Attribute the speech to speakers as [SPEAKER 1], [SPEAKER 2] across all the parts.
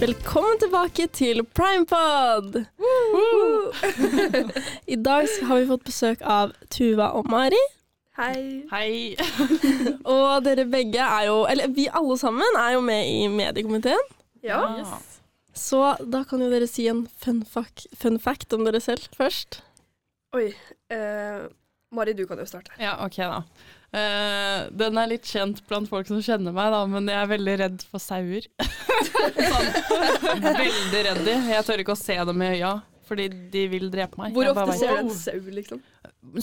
[SPEAKER 1] Velkommen tilbake til Primepod! Woo! I dag har vi fått besøk av Tuva og Mari.
[SPEAKER 2] Hei.
[SPEAKER 3] Hei.
[SPEAKER 1] Og dere begge er jo, eller vi alle sammen, er jo med i mediekomiteen.
[SPEAKER 2] Ja.
[SPEAKER 3] Yes.
[SPEAKER 1] Så da kan jo dere si en fun fact, fun fact om dere selv først.
[SPEAKER 2] Oi. eh, Mari, du kan jo starte.
[SPEAKER 3] Ja, ok da. Eh, den er litt kjent blant folk som kjenner meg, da, men jeg er veldig redd for sauer. sånn. Veldig redd de. Jeg tør ikke å se dem i øya, fordi de vil drepe meg.
[SPEAKER 2] Hvor
[SPEAKER 3] Jeg bare
[SPEAKER 2] ofte
[SPEAKER 3] vet-
[SPEAKER 2] ser du en sau, liksom?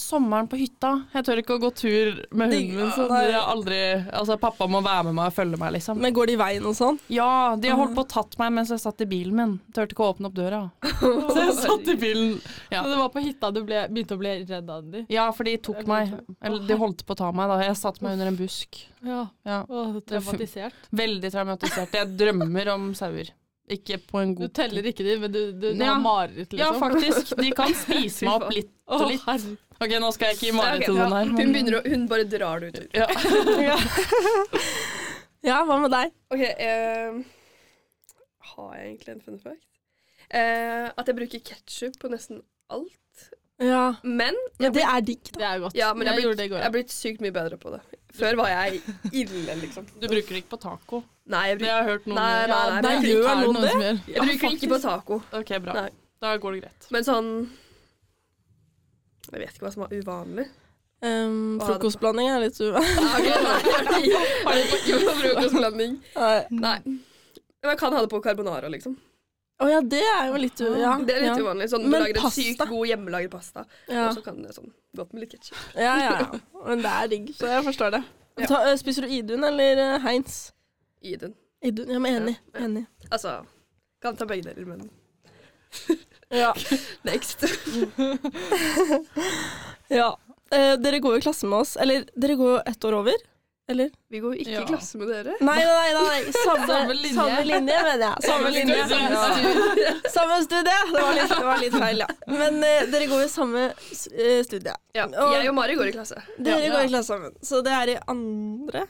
[SPEAKER 3] Sommeren på hytta. Jeg tør ikke å gå tur med
[SPEAKER 1] Digg.
[SPEAKER 3] hunden min. Så
[SPEAKER 1] Nei.
[SPEAKER 3] de har aldri, altså, pappa må være med meg og følge meg, liksom.
[SPEAKER 1] Men går de veien og sånn?
[SPEAKER 3] Ja,
[SPEAKER 2] Mhm.
[SPEAKER 3] de har holdt på og tatt meg mens jeg satt i bilen min. Turte ikke å åpne opp døra. Så jeg satt i bilen. Ja.
[SPEAKER 4] Så det var på hytta du ble, begynte å bli redd av de?
[SPEAKER 3] Ja, for de tok meg. Eller de holdt på å ta meg, da. Jeg satt meg under en busk.
[SPEAKER 4] Ja.
[SPEAKER 3] Ja.
[SPEAKER 4] Åh, traumatisert.
[SPEAKER 3] Veldig traumatisert. Jeg drømmer om sauer. Ikke på en
[SPEAKER 4] Du
[SPEAKER 3] god
[SPEAKER 4] teller ikke de, men du, du, du
[SPEAKER 3] Ja.
[SPEAKER 4] har mareritt,
[SPEAKER 3] Ja,
[SPEAKER 4] liksom?
[SPEAKER 3] faktisk. De kan spise meg opp litt og
[SPEAKER 4] Åh,
[SPEAKER 3] litt.
[SPEAKER 4] herre.
[SPEAKER 3] Ok, nå skal jeg ikke gi
[SPEAKER 2] Ja, ok,
[SPEAKER 3] mareritt til
[SPEAKER 2] ja.
[SPEAKER 3] den her.
[SPEAKER 2] Hun begynner å Hun bare drar det ut.
[SPEAKER 3] Ja.
[SPEAKER 1] Ja, hva med deg?
[SPEAKER 2] OK. eh, har jeg egentlig en fun fact? Eh, at jeg bruker ketsjup på nesten alt.
[SPEAKER 1] Ja,
[SPEAKER 2] Men
[SPEAKER 1] men det er digg.
[SPEAKER 4] Det er godt.
[SPEAKER 2] ja, men jeg,
[SPEAKER 4] jeg
[SPEAKER 2] er
[SPEAKER 4] gjorde
[SPEAKER 2] blitt,
[SPEAKER 4] det i
[SPEAKER 2] jeg
[SPEAKER 4] går.
[SPEAKER 2] er blitt sykt mye bedre på det. Før var jeg ille, liksom.
[SPEAKER 3] eh, Du bruker det ikke på taco.
[SPEAKER 2] Nei, jeg
[SPEAKER 3] Det
[SPEAKER 2] bruker,
[SPEAKER 3] har jeg hørt noen
[SPEAKER 2] Nei, nei,
[SPEAKER 3] Ja,
[SPEAKER 2] nei,
[SPEAKER 3] det
[SPEAKER 2] men
[SPEAKER 3] er
[SPEAKER 2] jeg
[SPEAKER 3] jo-
[SPEAKER 1] gjør
[SPEAKER 4] Er det
[SPEAKER 1] noen
[SPEAKER 4] noen som gjør?
[SPEAKER 2] jeg bruker ikke på taco.
[SPEAKER 3] OK, bra.
[SPEAKER 2] Nei.
[SPEAKER 3] Da går det greit.
[SPEAKER 2] Men sånn Jeg vet ikke hva som er uvanlig.
[SPEAKER 1] Um,
[SPEAKER 2] Hva er det på?
[SPEAKER 1] frokostblanding er litt uvanlig.
[SPEAKER 2] Har de ikke på frokostblanding?
[SPEAKER 1] Å
[SPEAKER 2] Nei. Men jeg kan ha det på carbonara, liksom.
[SPEAKER 1] ja, det er jo litt uvanlig. Ja,
[SPEAKER 2] Det er litt
[SPEAKER 1] ja.
[SPEAKER 2] uvanlig. Sånn, du
[SPEAKER 1] Men
[SPEAKER 2] lager en
[SPEAKER 1] pasta?
[SPEAKER 2] sykt god hjemmelaget pasta,
[SPEAKER 1] Ja.
[SPEAKER 2] og så kan det sånn godt med litt ketsjup.
[SPEAKER 1] Ja, ja, ja. Men det er digg, så jeg forstår det. Ta, ø, spiser du Idun eller ø, Heinz?
[SPEAKER 2] i den.
[SPEAKER 1] Idun, ja, men enig.
[SPEAKER 2] Ja, ja.
[SPEAKER 1] enig.
[SPEAKER 2] Altså Kan ta begge deler, men
[SPEAKER 1] Ja.
[SPEAKER 2] next.
[SPEAKER 1] ja. Eh, dere går jo i klasse med oss. Eller dere går jo ett år over. Eller?
[SPEAKER 2] Vi går jo ikke
[SPEAKER 3] Ja.
[SPEAKER 2] i klasse med dere.
[SPEAKER 1] Nei, nei, nei. nei. Samme,
[SPEAKER 4] Samme
[SPEAKER 1] samme,
[SPEAKER 4] linje.
[SPEAKER 1] linje. mener jeg. Samme linje. Ja. Samme studie. Det var litt, det var litt feil, ja. Men eh, dere går jo i samme s- eh, studie.
[SPEAKER 2] Ja,
[SPEAKER 1] Og-
[SPEAKER 2] jeg og Mari går i klasse.
[SPEAKER 1] Dere
[SPEAKER 3] Ja.
[SPEAKER 1] går i klasse sammen. Så det er i andre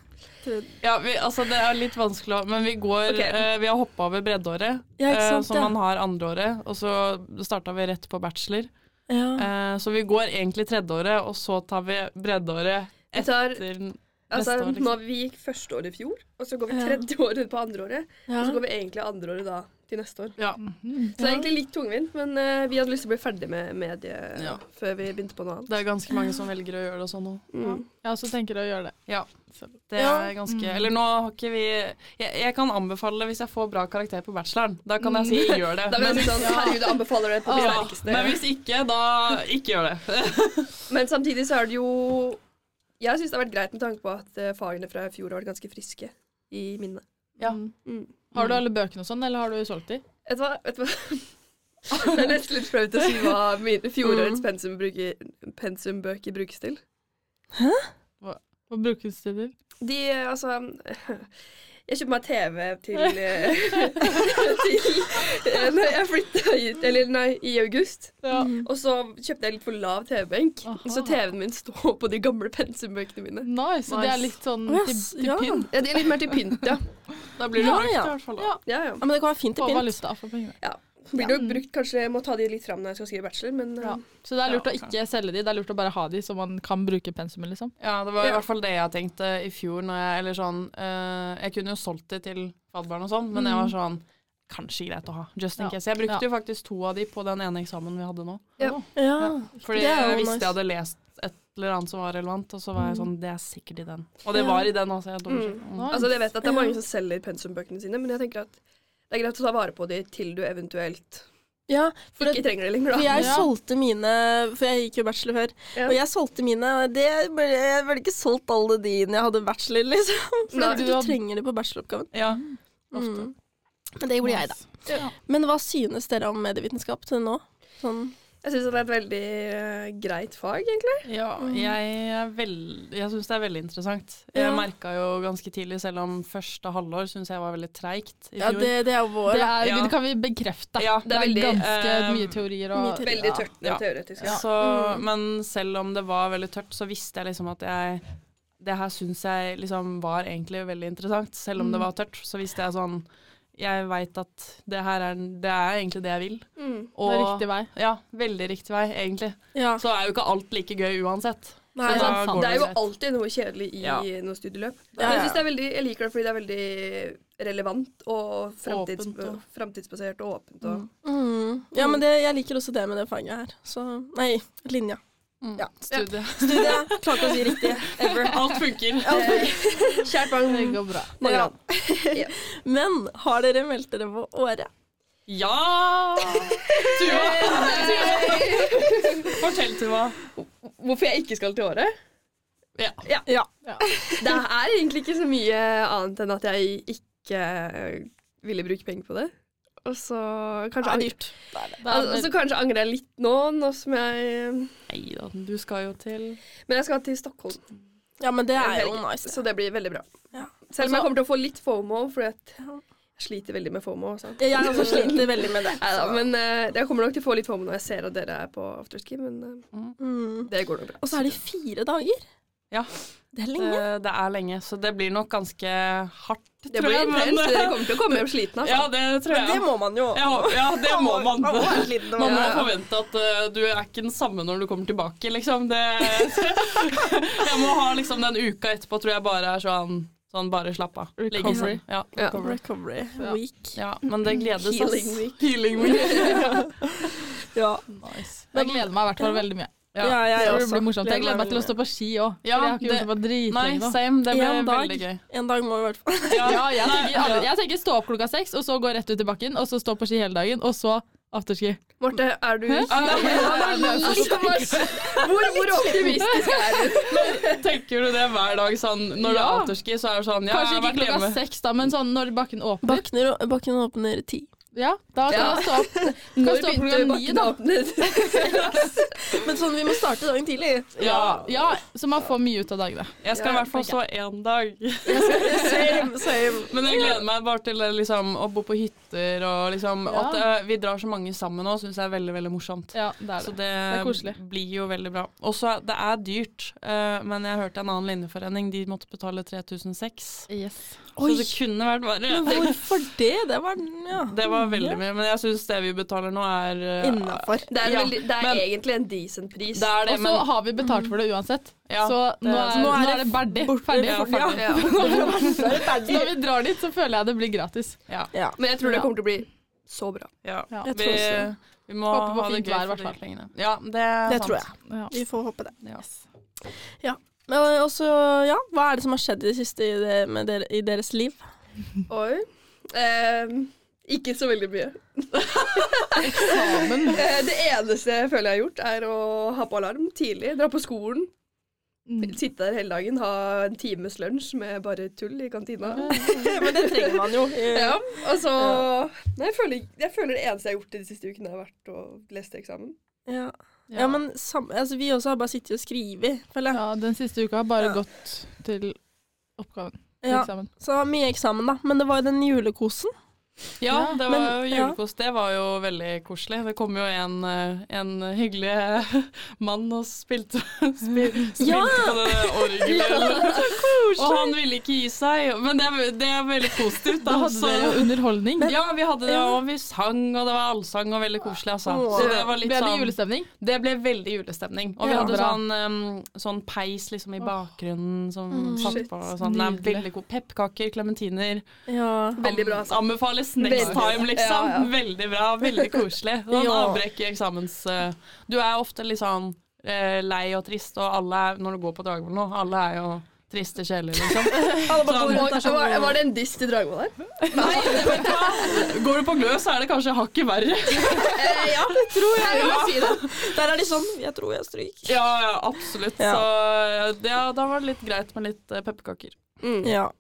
[SPEAKER 3] Ja, vi, altså Det er litt vanskelig, å- men vi går
[SPEAKER 2] Ok.
[SPEAKER 3] eh, Vi har hoppa over breddeåret,
[SPEAKER 1] Ja, ikke
[SPEAKER 3] eh,
[SPEAKER 1] sant,
[SPEAKER 3] som
[SPEAKER 1] ja.
[SPEAKER 3] man har andreåret. Og så starta vi rett på bachelor.
[SPEAKER 1] Ja.
[SPEAKER 3] Eh, så vi går egentlig tredjeåret, og så tar vi breddeåret
[SPEAKER 2] Vi tar,
[SPEAKER 3] etter
[SPEAKER 2] altså,
[SPEAKER 3] neste år, liksom.
[SPEAKER 2] nå, vi gikk første år i fjor, og så går vi
[SPEAKER 1] Ja.
[SPEAKER 2] tredje året på andreåret. Og så går vi egentlig andreåret da til neste år.
[SPEAKER 3] Ja.
[SPEAKER 2] Så det er egentlig litt tungvint, men eh, vi hadde lyst til å bli ferdig med medie
[SPEAKER 3] Ja.
[SPEAKER 2] før vi begynte på noe annet.
[SPEAKER 3] Det er ganske mange som velger å gjøre det sånn nå.
[SPEAKER 2] Mm.
[SPEAKER 4] Ja, så tenker jeg å gjøre det.
[SPEAKER 3] Ja.
[SPEAKER 4] Så-
[SPEAKER 3] Det
[SPEAKER 1] Ja.
[SPEAKER 3] er ganske Eller nå har ikke vi jeg, jeg kan anbefale hvis jeg får bra karakter på bacheloren. Mm. Da kan jeg si gjør det.
[SPEAKER 2] Da blir
[SPEAKER 3] Men
[SPEAKER 2] det
[SPEAKER 3] hvis,
[SPEAKER 2] sånn, herregud, jeg anbefaler det på det
[SPEAKER 3] ja,
[SPEAKER 2] sterkeste.
[SPEAKER 3] men hvis ikke, da ikke gjør det.
[SPEAKER 2] Men samtidig så er det jo Jeg syns det har vært greit med tanke på at eh, fagene fra i fjor har vært ganske friske i minnet.
[SPEAKER 3] Ja.
[SPEAKER 4] Mm.
[SPEAKER 2] Mm.
[SPEAKER 4] Har du alle bøkene og sånn, eller har du solgt de?
[SPEAKER 2] Vet du hva? Vet du hva? Det er nesten litt flaut å si hva mine fjorårets pensum bruker- pensumbøker brukes til.
[SPEAKER 4] Hva brukes de til?
[SPEAKER 2] De, eh, altså Jeg kjøpte meg TV til, eh, til eh, Når jeg flytta hit, eller nei, i august.
[SPEAKER 4] Ja.
[SPEAKER 2] Og så kjøpte jeg litt for lav TV-benk,
[SPEAKER 4] Aha.
[SPEAKER 2] så TV-en min står på de gamle pensumbøkene mine.
[SPEAKER 4] Nice. Så det er litt sånn
[SPEAKER 1] Å,
[SPEAKER 4] til,
[SPEAKER 1] yes,
[SPEAKER 4] til
[SPEAKER 1] ja.
[SPEAKER 4] pynt
[SPEAKER 2] Ja, de er litt mer til pynt, ja.
[SPEAKER 3] Da blir det
[SPEAKER 1] Ja,
[SPEAKER 3] brukt,
[SPEAKER 1] ja.
[SPEAKER 3] i hvert fall. Da.
[SPEAKER 4] Ja.
[SPEAKER 2] ja, ja.
[SPEAKER 1] ja. Men det kan være fint i
[SPEAKER 4] på
[SPEAKER 1] pynt.
[SPEAKER 4] valuta for pengene.
[SPEAKER 2] Blir nok brukt, kanskje jeg må ta de litt fram når jeg skal skrive bachelor, men
[SPEAKER 4] Ja.
[SPEAKER 2] eh,
[SPEAKER 4] Så det er lurt
[SPEAKER 3] Ja,
[SPEAKER 4] å ikke selge de, det er lurt å bare ha de, så man kan bruke pensumet, liksom.
[SPEAKER 3] Ja, det var i
[SPEAKER 2] Ja.
[SPEAKER 3] hvert fall det jeg tenkte i fjor. Når jeg, eller sånn, eh, jeg kunne jo solgt det til fadderbarn og sånn, men jeg
[SPEAKER 1] Mm.
[SPEAKER 3] var sånn Kanskje greit å ha. Just in
[SPEAKER 4] Ja.
[SPEAKER 3] case. Jeg brukte
[SPEAKER 4] Ja.
[SPEAKER 3] jo faktisk to av de på den ene eksamen vi hadde nå.
[SPEAKER 2] Ja.
[SPEAKER 4] Åh.
[SPEAKER 1] Ja.
[SPEAKER 3] Fordi
[SPEAKER 1] Det er jo
[SPEAKER 3] jeg visste
[SPEAKER 1] nice.
[SPEAKER 3] jeg hadde lest et eller annet som var relevant, og så var jeg sånn Det er sikkert i den. Og det
[SPEAKER 1] Ja.
[SPEAKER 3] var i den, altså. Jeg dobbeltsjekket.
[SPEAKER 2] Mm.
[SPEAKER 3] Mm.
[SPEAKER 2] altså, jeg vet at det er mange som selger pensumbøkene sine, men jeg tenker at det er greit å ta vare på de til du eventuelt
[SPEAKER 1] ja for,
[SPEAKER 2] ikke
[SPEAKER 1] det,
[SPEAKER 2] trenger det lenger,
[SPEAKER 1] for
[SPEAKER 2] da.
[SPEAKER 1] jeg
[SPEAKER 4] Ja.
[SPEAKER 1] solgte mine For jeg gikk jo bachelor før.
[SPEAKER 2] Ja.
[SPEAKER 1] Og jeg solgte mine. og Det, ble- jeg ville ikke solgt alle de når jeg hadde bachelor, liksom. For
[SPEAKER 2] Nei.
[SPEAKER 1] du,
[SPEAKER 4] Du har-
[SPEAKER 1] trenger det på bacheloroppgaven.
[SPEAKER 3] Ja.
[SPEAKER 1] Mm. Men det gjorde jeg, da.
[SPEAKER 2] Ja.
[SPEAKER 1] Men hva synes dere om medievitenskap til nå? Sånn,
[SPEAKER 2] Jeg syns det er et veldig eh, greit fag, egentlig.
[SPEAKER 3] ja jeg er veld- jeg syns det er veldig interessant. Jeg
[SPEAKER 1] Ja.
[SPEAKER 3] merka jo ganske tidlig, selv om første halvår syns jeg var veldig treigt i
[SPEAKER 1] ja,
[SPEAKER 3] fjor.
[SPEAKER 1] det, det er vår.
[SPEAKER 4] Det, er,
[SPEAKER 3] Ja.
[SPEAKER 4] det kan vi bekrefte.
[SPEAKER 3] Ja,
[SPEAKER 4] det, er
[SPEAKER 2] veldig,
[SPEAKER 4] ganske
[SPEAKER 3] eh,
[SPEAKER 4] mye teorier og
[SPEAKER 1] mye teori.
[SPEAKER 2] Veldig tørt og
[SPEAKER 3] Ja.
[SPEAKER 2] teoretisk.
[SPEAKER 3] Så, Men selv om det var veldig tørt, så visste jeg liksom at jeg Det her syns jeg liksom var egentlig veldig interessant. Selv om det var tørt, så visste jeg sånn jeg veit at det her er, det er egentlig det jeg vil.
[SPEAKER 2] Mm.
[SPEAKER 4] Det
[SPEAKER 3] Og,
[SPEAKER 4] er riktig vei.
[SPEAKER 3] Ja, veldig riktig vei, egentlig.
[SPEAKER 1] Ja.
[SPEAKER 3] Så er jo ikke alt like gøy uansett.
[SPEAKER 1] Nei,
[SPEAKER 3] Så da
[SPEAKER 4] sant.
[SPEAKER 3] går
[SPEAKER 2] Det er jo
[SPEAKER 3] greit.
[SPEAKER 2] alltid noe kjedelig i
[SPEAKER 3] Ja.
[SPEAKER 2] noen studieløp.
[SPEAKER 1] Ja,
[SPEAKER 2] Men jeg,
[SPEAKER 1] ja.
[SPEAKER 2] synes det er veldig, jeg liker det fordi det er veldig relevant og framtids,
[SPEAKER 3] Åpent og-
[SPEAKER 2] framtidsbasert og åpent. Og,
[SPEAKER 1] Mm. ja, men det, jeg liker også det med det faget her. Så Nei, linja.
[SPEAKER 3] Mm.
[SPEAKER 1] Ja.
[SPEAKER 3] Studie.
[SPEAKER 1] Studie. Klarer ikke å si riktig. Ever.
[SPEAKER 3] Alt funker.
[SPEAKER 2] Eh, Kjært barn.
[SPEAKER 4] Det går bra.
[SPEAKER 1] Ja. Men har dere meldt dere på Året?
[SPEAKER 3] Ja! Tuva! Tuva. Fortell, Tuva.
[SPEAKER 2] Hvorfor jeg ikke skal til Åre?
[SPEAKER 3] Ja.
[SPEAKER 1] Ja.
[SPEAKER 2] Det er egentlig ikke så mye annet enn at jeg ikke eh, ville bruke penger på det. Og så kanskje, ang-
[SPEAKER 1] dyrt.
[SPEAKER 4] Det
[SPEAKER 2] Al-
[SPEAKER 4] er,
[SPEAKER 2] og så kanskje angrer jeg litt nå, nå som jeg
[SPEAKER 3] Nei da, du skal jo til
[SPEAKER 2] Men jeg skal til Stockholm,
[SPEAKER 1] Ja, men det er
[SPEAKER 2] En
[SPEAKER 1] jo
[SPEAKER 2] helg.
[SPEAKER 1] nice.
[SPEAKER 2] så det blir veldig bra.
[SPEAKER 1] Ja. Altså-
[SPEAKER 2] Selv om jeg kommer til å få litt fomo, fordi at jeg sliter veldig med fomo. Sant?
[SPEAKER 1] Jeg også sliter veldig med det.
[SPEAKER 2] Neida, men eh, jeg kommer nok til å få litt fomo når jeg ser at dere er på afterski, men eh,
[SPEAKER 1] Mm.
[SPEAKER 2] det går nok bra.
[SPEAKER 1] Og så er det fire dager.
[SPEAKER 3] Ja.
[SPEAKER 1] Det er lenge.
[SPEAKER 3] Det, det er lenge, så det blir nok ganske hardt,
[SPEAKER 2] Det blir intenst, dere kommer til å komme hjem sliten. Altså.
[SPEAKER 3] Ja, det tror
[SPEAKER 1] Men det
[SPEAKER 3] jeg.
[SPEAKER 1] må man jo.
[SPEAKER 3] Ja, ja, det må man.
[SPEAKER 1] Man må være sliten når
[SPEAKER 3] Man må
[SPEAKER 1] man-
[SPEAKER 3] forvente at eh, du er ikke den samme når du kommer tilbake, liksom. Det, jeg må ha liksom den uka etterpå, tror jeg bare er sånn, sånn bare slapp av. Ligge i seng.
[SPEAKER 4] Recovery.
[SPEAKER 3] Ja.
[SPEAKER 2] Ja.
[SPEAKER 1] Recovery
[SPEAKER 4] Ja.
[SPEAKER 1] week.
[SPEAKER 3] ja, men det gledes. ass.
[SPEAKER 2] Healing week.
[SPEAKER 3] Healing week.
[SPEAKER 1] Ja,
[SPEAKER 3] Nice.
[SPEAKER 4] jeg gleder meg i hvert fall veldig mye.
[SPEAKER 1] ja.
[SPEAKER 3] Ja.
[SPEAKER 1] jeg
[SPEAKER 4] Det
[SPEAKER 1] også.
[SPEAKER 4] blir morsomt. Jeg
[SPEAKER 3] Gleder meg
[SPEAKER 4] gleder meg til å
[SPEAKER 3] veldig
[SPEAKER 4] stå på ski òg.
[SPEAKER 3] Ja,
[SPEAKER 4] jeg har ikke
[SPEAKER 3] det-
[SPEAKER 4] gjort det på
[SPEAKER 3] Nei,
[SPEAKER 4] dritlenge nå.
[SPEAKER 3] same. Det blir
[SPEAKER 1] En dag.
[SPEAKER 3] veldig gøy.
[SPEAKER 1] En dag må vi i hvert fall
[SPEAKER 4] Ja, jeg tenker,
[SPEAKER 3] Nei,
[SPEAKER 4] alle- jeg tenker stå opp klokka seks, og så gå rett ut i bakken, og så stå på ski hele dagen, og så afterski.
[SPEAKER 2] Marte, er du
[SPEAKER 4] Hæ?
[SPEAKER 2] Hvor, hvor optimistisk er du?
[SPEAKER 3] Tenker du det hver dag sånn når du
[SPEAKER 4] Ja.
[SPEAKER 3] er afterski, så er det sånn ja,
[SPEAKER 4] Kanskje
[SPEAKER 3] jeg har
[SPEAKER 4] ikke
[SPEAKER 3] vært hjemme.
[SPEAKER 4] klokka seks, da, men sånn når bakken åpner.
[SPEAKER 1] Bakner, Bakken åpner ti.
[SPEAKER 4] Ja, da kan
[SPEAKER 2] Ja.
[SPEAKER 4] man stå opp.
[SPEAKER 2] Når
[SPEAKER 4] stå opp
[SPEAKER 2] begynte
[SPEAKER 4] klokka ni,
[SPEAKER 2] bakken å
[SPEAKER 4] da?
[SPEAKER 2] åpne?
[SPEAKER 1] Men sånn, vi må starte dagen tidlig.
[SPEAKER 4] Ja, ja, så man får mye ut av dagene.
[SPEAKER 3] Jeg skal i hvert fall så én dag.
[SPEAKER 1] Same, same.
[SPEAKER 3] Men jeg gleder meg bare til eh, liksom, å bo på hytter og liksom
[SPEAKER 4] Ja.
[SPEAKER 3] at eh, vi drar så mange sammen nå, syns jeg er veldig, veldig morsomt.
[SPEAKER 4] Ja, det er
[SPEAKER 3] Så
[SPEAKER 4] det.
[SPEAKER 3] det,
[SPEAKER 4] er koselig.
[SPEAKER 3] blir jo veldig bra. Og så er- det er dyrt, eh, men jeg hørte en annen linjeforening, de måtte betale 3006.
[SPEAKER 4] Yes.
[SPEAKER 3] Så
[SPEAKER 1] Oi.
[SPEAKER 3] det kunne vært
[SPEAKER 1] Men
[SPEAKER 3] verre.
[SPEAKER 1] hvorfor det? Det var den, ja.
[SPEAKER 3] Det var veldig mye, men jeg syns det vi betaler nå er eh,
[SPEAKER 1] Innafor.
[SPEAKER 2] Det er,
[SPEAKER 3] Ja,
[SPEAKER 2] veldig, det er
[SPEAKER 3] men-
[SPEAKER 2] egentlig en decent pris.
[SPEAKER 3] Det er det,
[SPEAKER 4] Og så
[SPEAKER 3] men
[SPEAKER 4] har vi betalt for det uansett,
[SPEAKER 3] Ja,
[SPEAKER 4] så
[SPEAKER 3] det-
[SPEAKER 4] nå er,
[SPEAKER 1] Så
[SPEAKER 4] nå er det ferdig. ferdig.
[SPEAKER 1] Ja,
[SPEAKER 3] ferdig.
[SPEAKER 1] ferdig.
[SPEAKER 2] Ja.
[SPEAKER 4] Når vi drar dit, så føler jeg det blir gratis.
[SPEAKER 1] Ja.
[SPEAKER 2] Men jeg tror det kommer til å bli så bra.
[SPEAKER 3] ja.
[SPEAKER 4] Ja.
[SPEAKER 1] Jeg
[SPEAKER 3] Vi,
[SPEAKER 1] tror også.
[SPEAKER 3] vi må
[SPEAKER 4] Håper på
[SPEAKER 3] ha det
[SPEAKER 4] fint
[SPEAKER 3] gøy
[SPEAKER 4] vær, i
[SPEAKER 3] for
[SPEAKER 4] hvert
[SPEAKER 3] de
[SPEAKER 4] fall.
[SPEAKER 3] pengene. Ja, det, er
[SPEAKER 1] Det
[SPEAKER 3] sant.
[SPEAKER 1] tror jeg.
[SPEAKER 4] Ja.
[SPEAKER 1] Vi får håpe det.
[SPEAKER 3] Ja.
[SPEAKER 1] Men også, ja, hva er det som har skjedd i det siste i, det, med dere, i deres liv?
[SPEAKER 2] Oi. Ehm, ikke så veldig mye.
[SPEAKER 4] Eksamen.
[SPEAKER 2] Eh, det eneste jeg føler jeg har gjort, er å ha på alarm tidlig, dra på skolen,
[SPEAKER 4] Mm.
[SPEAKER 2] sitte der hele dagen, ha en times lunsj med bare tull i kantina.
[SPEAKER 1] Men det trenger man jo.
[SPEAKER 2] Ja, og så Nei, jeg føler, jeg føler det eneste jeg har gjort de siste ukene, har vært å lese til eksamen.
[SPEAKER 1] Ja, ja men sam, altså, vi også har bare sittet og skrevet, føler jeg.
[SPEAKER 4] Ja, den siste uka har bare
[SPEAKER 1] Ja.
[SPEAKER 4] gått til oppgaven. til
[SPEAKER 1] Ja,
[SPEAKER 4] Eksamen.
[SPEAKER 1] så mye eksamen, da. Men det var jo den julekosen.
[SPEAKER 3] Ja,
[SPEAKER 4] Ja,
[SPEAKER 3] det
[SPEAKER 1] men-
[SPEAKER 3] var jo
[SPEAKER 1] ja.
[SPEAKER 3] julekos. Det var jo veldig koselig. Det kom jo en, eh, en hyggelig mann og spilte, spil, spilte
[SPEAKER 1] Ja!
[SPEAKER 3] på det orgelet. og han ville ikke gi seg. Men det, er- det er veldig positivt,
[SPEAKER 4] Da
[SPEAKER 3] da.
[SPEAKER 4] hadde
[SPEAKER 3] Så,
[SPEAKER 4] dere jo underholdning.
[SPEAKER 3] ja, vi hadde det, og vi sang, og det var allsang, og veldig koselig, altså. Så det var litt
[SPEAKER 4] Ble det
[SPEAKER 3] sånn
[SPEAKER 4] julestemning?
[SPEAKER 3] Det ble veldig julestemning. Og vi
[SPEAKER 4] Ja,
[SPEAKER 3] hadde
[SPEAKER 4] bra.
[SPEAKER 3] sånn, em, sånn peis liksom i bakgrunnen som satt
[SPEAKER 2] Shit,
[SPEAKER 3] på. og Sånn. Nei,
[SPEAKER 4] Mm, nydelig.
[SPEAKER 3] veldig god. Pepperkaker, klementiner.
[SPEAKER 1] Ja.
[SPEAKER 2] Veldig bra, altså.
[SPEAKER 3] Anbefales next
[SPEAKER 2] Veldig.
[SPEAKER 3] time, liksom.
[SPEAKER 2] Ja, ja.
[SPEAKER 3] Veldig bra, veldig koselig. Sånn
[SPEAKER 1] Ja.
[SPEAKER 3] avbrekk i eksamens eh, Du er ofte litt sånn eh, lei og trist, og alle er, når du går på Dragvoll nå, alle er jo triste sjeler, liksom.
[SPEAKER 2] Og,
[SPEAKER 3] Sånn,
[SPEAKER 2] var, var det en diss til Dragvoll der?
[SPEAKER 3] nei, vet du hva? Går du på gløs, så er det kanskje hakket verre.
[SPEAKER 2] Eh, ja, det tror jeg. vil si det.
[SPEAKER 1] Der er de sånn Jeg tror jeg stryker.
[SPEAKER 3] Ja, ja, absolutt.
[SPEAKER 1] Ja.
[SPEAKER 3] Så det- ja, da var det litt greit med litt eh, pepperkaker.
[SPEAKER 2] Mm.
[SPEAKER 1] Ja.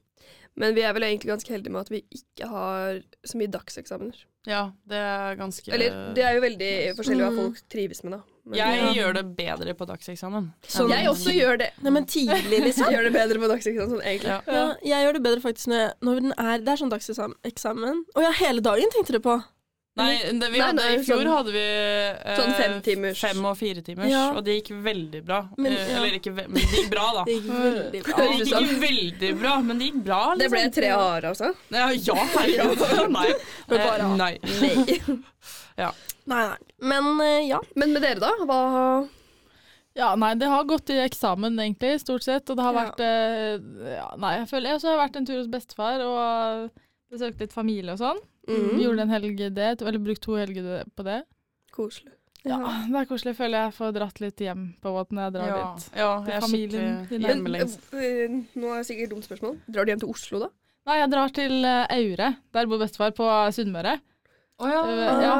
[SPEAKER 2] Men vi er vel egentlig ganske heldige med at vi ikke har så mye dagseksamener.
[SPEAKER 3] Ja, det er ganske
[SPEAKER 2] Eller det er jo veldig forskjellig hva
[SPEAKER 1] Mm.
[SPEAKER 2] folk trives med, da. Men,
[SPEAKER 3] Jeg
[SPEAKER 1] Ja.
[SPEAKER 3] gjør det bedre på dagseksamen.
[SPEAKER 1] Sånn-
[SPEAKER 2] jeg også gjør det.
[SPEAKER 1] Nei, men tidlig, liksom.
[SPEAKER 2] Jeg gjør det bedre på dagseksamen sånn egentlig.
[SPEAKER 3] Ja.
[SPEAKER 1] Ja, jeg gjør det bedre faktisk når, jeg, når den er Det er sånn dagseksamen. Å ja, hele dagen tenkte du på.
[SPEAKER 3] Nei, det, vi
[SPEAKER 2] Nei,
[SPEAKER 3] hadde,
[SPEAKER 2] nei,
[SPEAKER 3] i fjor
[SPEAKER 2] sånn-
[SPEAKER 3] hadde vi eh,
[SPEAKER 2] Sånn fem timers.
[SPEAKER 3] fem og fire timers,
[SPEAKER 1] Ja.
[SPEAKER 3] og det gikk veldig bra.
[SPEAKER 1] Men,
[SPEAKER 3] Eh,
[SPEAKER 1] ja.
[SPEAKER 3] Eller ikke ve men det gikk bra, da.
[SPEAKER 1] Det gikk veldig bra.
[SPEAKER 3] Det gikk ikke veldig bra, men det gikk bra. liksom.
[SPEAKER 2] Det ble tre a-er, altså.
[SPEAKER 3] Ja, ja herregud. Nei.
[SPEAKER 2] Men bare
[SPEAKER 3] Eh,
[SPEAKER 2] A.
[SPEAKER 3] nei.
[SPEAKER 1] Nei, nei. Men eh, ja.
[SPEAKER 2] Men med dere, da? Hva
[SPEAKER 4] Ja, nei, det har gått i eksamen egentlig, stort sett. Og det har
[SPEAKER 1] Ja.
[SPEAKER 4] vært eh, ja, Nei, jeg føler jeg også har vært en tur hos bestefar og besøkt litt familie og sånn.
[SPEAKER 2] Mhm.
[SPEAKER 4] Gjorde en helg det, to- eller brukt to helger på det.
[SPEAKER 2] Koselig.
[SPEAKER 4] Ja, Det er koselig. Føler jeg får dratt litt hjem på båten når jeg drar
[SPEAKER 3] Ja.
[SPEAKER 4] dit.
[SPEAKER 3] ja, jeg er
[SPEAKER 4] Familien
[SPEAKER 3] skikkelig
[SPEAKER 4] din.
[SPEAKER 2] Men,
[SPEAKER 3] hjemmelengst.
[SPEAKER 2] eh, nå er det sikkert et dumt spørsmål. Drar du hjem til Oslo, da?
[SPEAKER 4] Nei, jeg drar til eh, Aure. Der bor bestefar på Sunnmøre.
[SPEAKER 3] Å ja.
[SPEAKER 4] Eh, ja.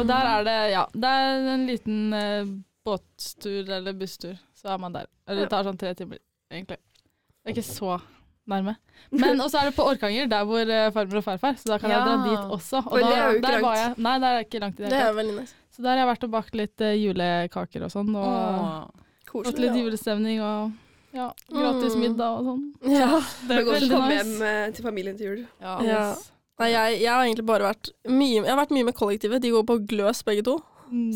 [SPEAKER 4] Og der er det Ja, det er en liten eh, båttur eller busstur, så er man der. Eller det tar sånn tre timer, egentlig. Det er ikke så nærme. Men også er det på Orkanger, der hvor eh, farmor og farfar, så da kan jeg
[SPEAKER 3] Ja.
[SPEAKER 4] dra dit også. Og
[SPEAKER 2] Men
[SPEAKER 4] da,
[SPEAKER 2] det er jo ikke
[SPEAKER 4] der var jeg,
[SPEAKER 2] langt.
[SPEAKER 4] Nei, det er ikke langt i det
[SPEAKER 1] Det
[SPEAKER 4] hele
[SPEAKER 1] er
[SPEAKER 4] tatt.
[SPEAKER 1] veldig nice.
[SPEAKER 4] Så der har jeg vært og bakt litt eh, julekaker og sånn, og
[SPEAKER 3] Åh.
[SPEAKER 4] hatt
[SPEAKER 2] Koselig.
[SPEAKER 4] litt julestemning og ja, gratis
[SPEAKER 1] Mm.
[SPEAKER 4] middag og sånn.
[SPEAKER 1] Ja.
[SPEAKER 2] Det er godt å
[SPEAKER 4] veldig
[SPEAKER 2] komme
[SPEAKER 4] nice.
[SPEAKER 2] hjem eh, til familien til jul.
[SPEAKER 3] Ja.
[SPEAKER 1] Ja. Nei, jeg, jeg har egentlig bare vært mye, jeg har vært mye med kollektivet. De går på gløs, begge to.
[SPEAKER 4] Mm.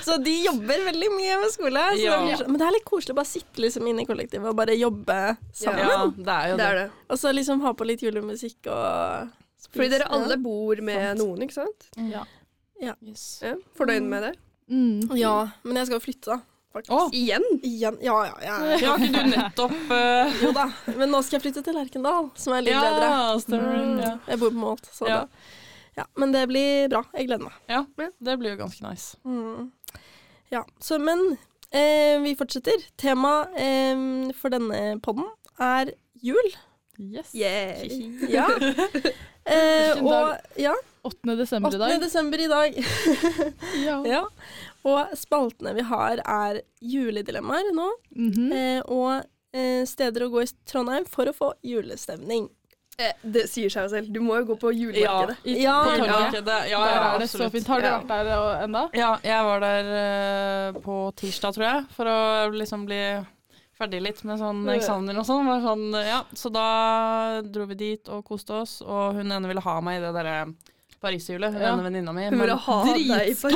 [SPEAKER 1] Så de jobber veldig mye med skole. Så
[SPEAKER 3] Ja.
[SPEAKER 1] det blir, sånn- men det er litt koselig å bare sitte liksom inne i kollektivet og bare jobbe sammen.
[SPEAKER 3] ja, det er jo
[SPEAKER 2] Det
[SPEAKER 3] det.
[SPEAKER 2] er det.
[SPEAKER 1] Og så liksom ha på litt julemusikk og spise.
[SPEAKER 2] Fordi dere alle
[SPEAKER 1] Ja.
[SPEAKER 2] bor med noen, ikke sant?
[SPEAKER 4] Ja.
[SPEAKER 3] Yes.
[SPEAKER 2] Ja. Fornøyd med det?
[SPEAKER 4] Mm.
[SPEAKER 1] Ja, men jeg skal jo flytte, da. Faktisk.
[SPEAKER 3] Å.
[SPEAKER 2] Igjen?
[SPEAKER 1] Igjen. Ja, ja, ja.
[SPEAKER 3] Ja, har ikke du nettopp eh,
[SPEAKER 1] Jo da. Men nå skal jeg flytte til Lerkendal, som er litt bedre.
[SPEAKER 3] Ja, stemmer
[SPEAKER 2] Mm.
[SPEAKER 3] det. Ja.
[SPEAKER 1] Jeg bor på Målt, så
[SPEAKER 3] Ja.
[SPEAKER 1] det ja, Men det blir bra. Jeg gleder meg. Mm.
[SPEAKER 3] Det blir jo ganske nice.
[SPEAKER 1] Ja, så, men eh, vi fortsetter. Temaet eh, for denne podden er jul.
[SPEAKER 4] Yes.
[SPEAKER 2] Yeah.
[SPEAKER 1] Ja. Eh,
[SPEAKER 4] Hvilken dag?
[SPEAKER 1] og ja,
[SPEAKER 4] 8.
[SPEAKER 1] 8.
[SPEAKER 4] desember i dag.
[SPEAKER 1] desember i dag.
[SPEAKER 4] Ja.
[SPEAKER 1] ja. Og spaltene vi har, er juledilemmaer nå.
[SPEAKER 4] Mhm.
[SPEAKER 1] Eh, og eh, steder å gå i Trondheim for å få julestemning.
[SPEAKER 2] Eh, Det sier seg jo selv. Du må jo gå på julemarkedet.
[SPEAKER 4] I-
[SPEAKER 1] Ja,
[SPEAKER 3] Ja,
[SPEAKER 4] på torget.
[SPEAKER 3] ok, det, ja, ja,
[SPEAKER 4] Der er det så
[SPEAKER 3] absolutt.
[SPEAKER 4] fint. Har du
[SPEAKER 2] Ja.
[SPEAKER 4] vært der og- enda?
[SPEAKER 3] Ja, jeg var der eh, på tirsdag, tror jeg, for å liksom bli ferdig litt med sånn eksamener og sånn. Var sånn ja. Så da dro vi dit og koste oss, og hun ene ville ha meg i det derre pariserhjulet. Hun
[SPEAKER 4] Ja.
[SPEAKER 3] ene venninna mi.
[SPEAKER 2] Hun ville ha deg i Paris.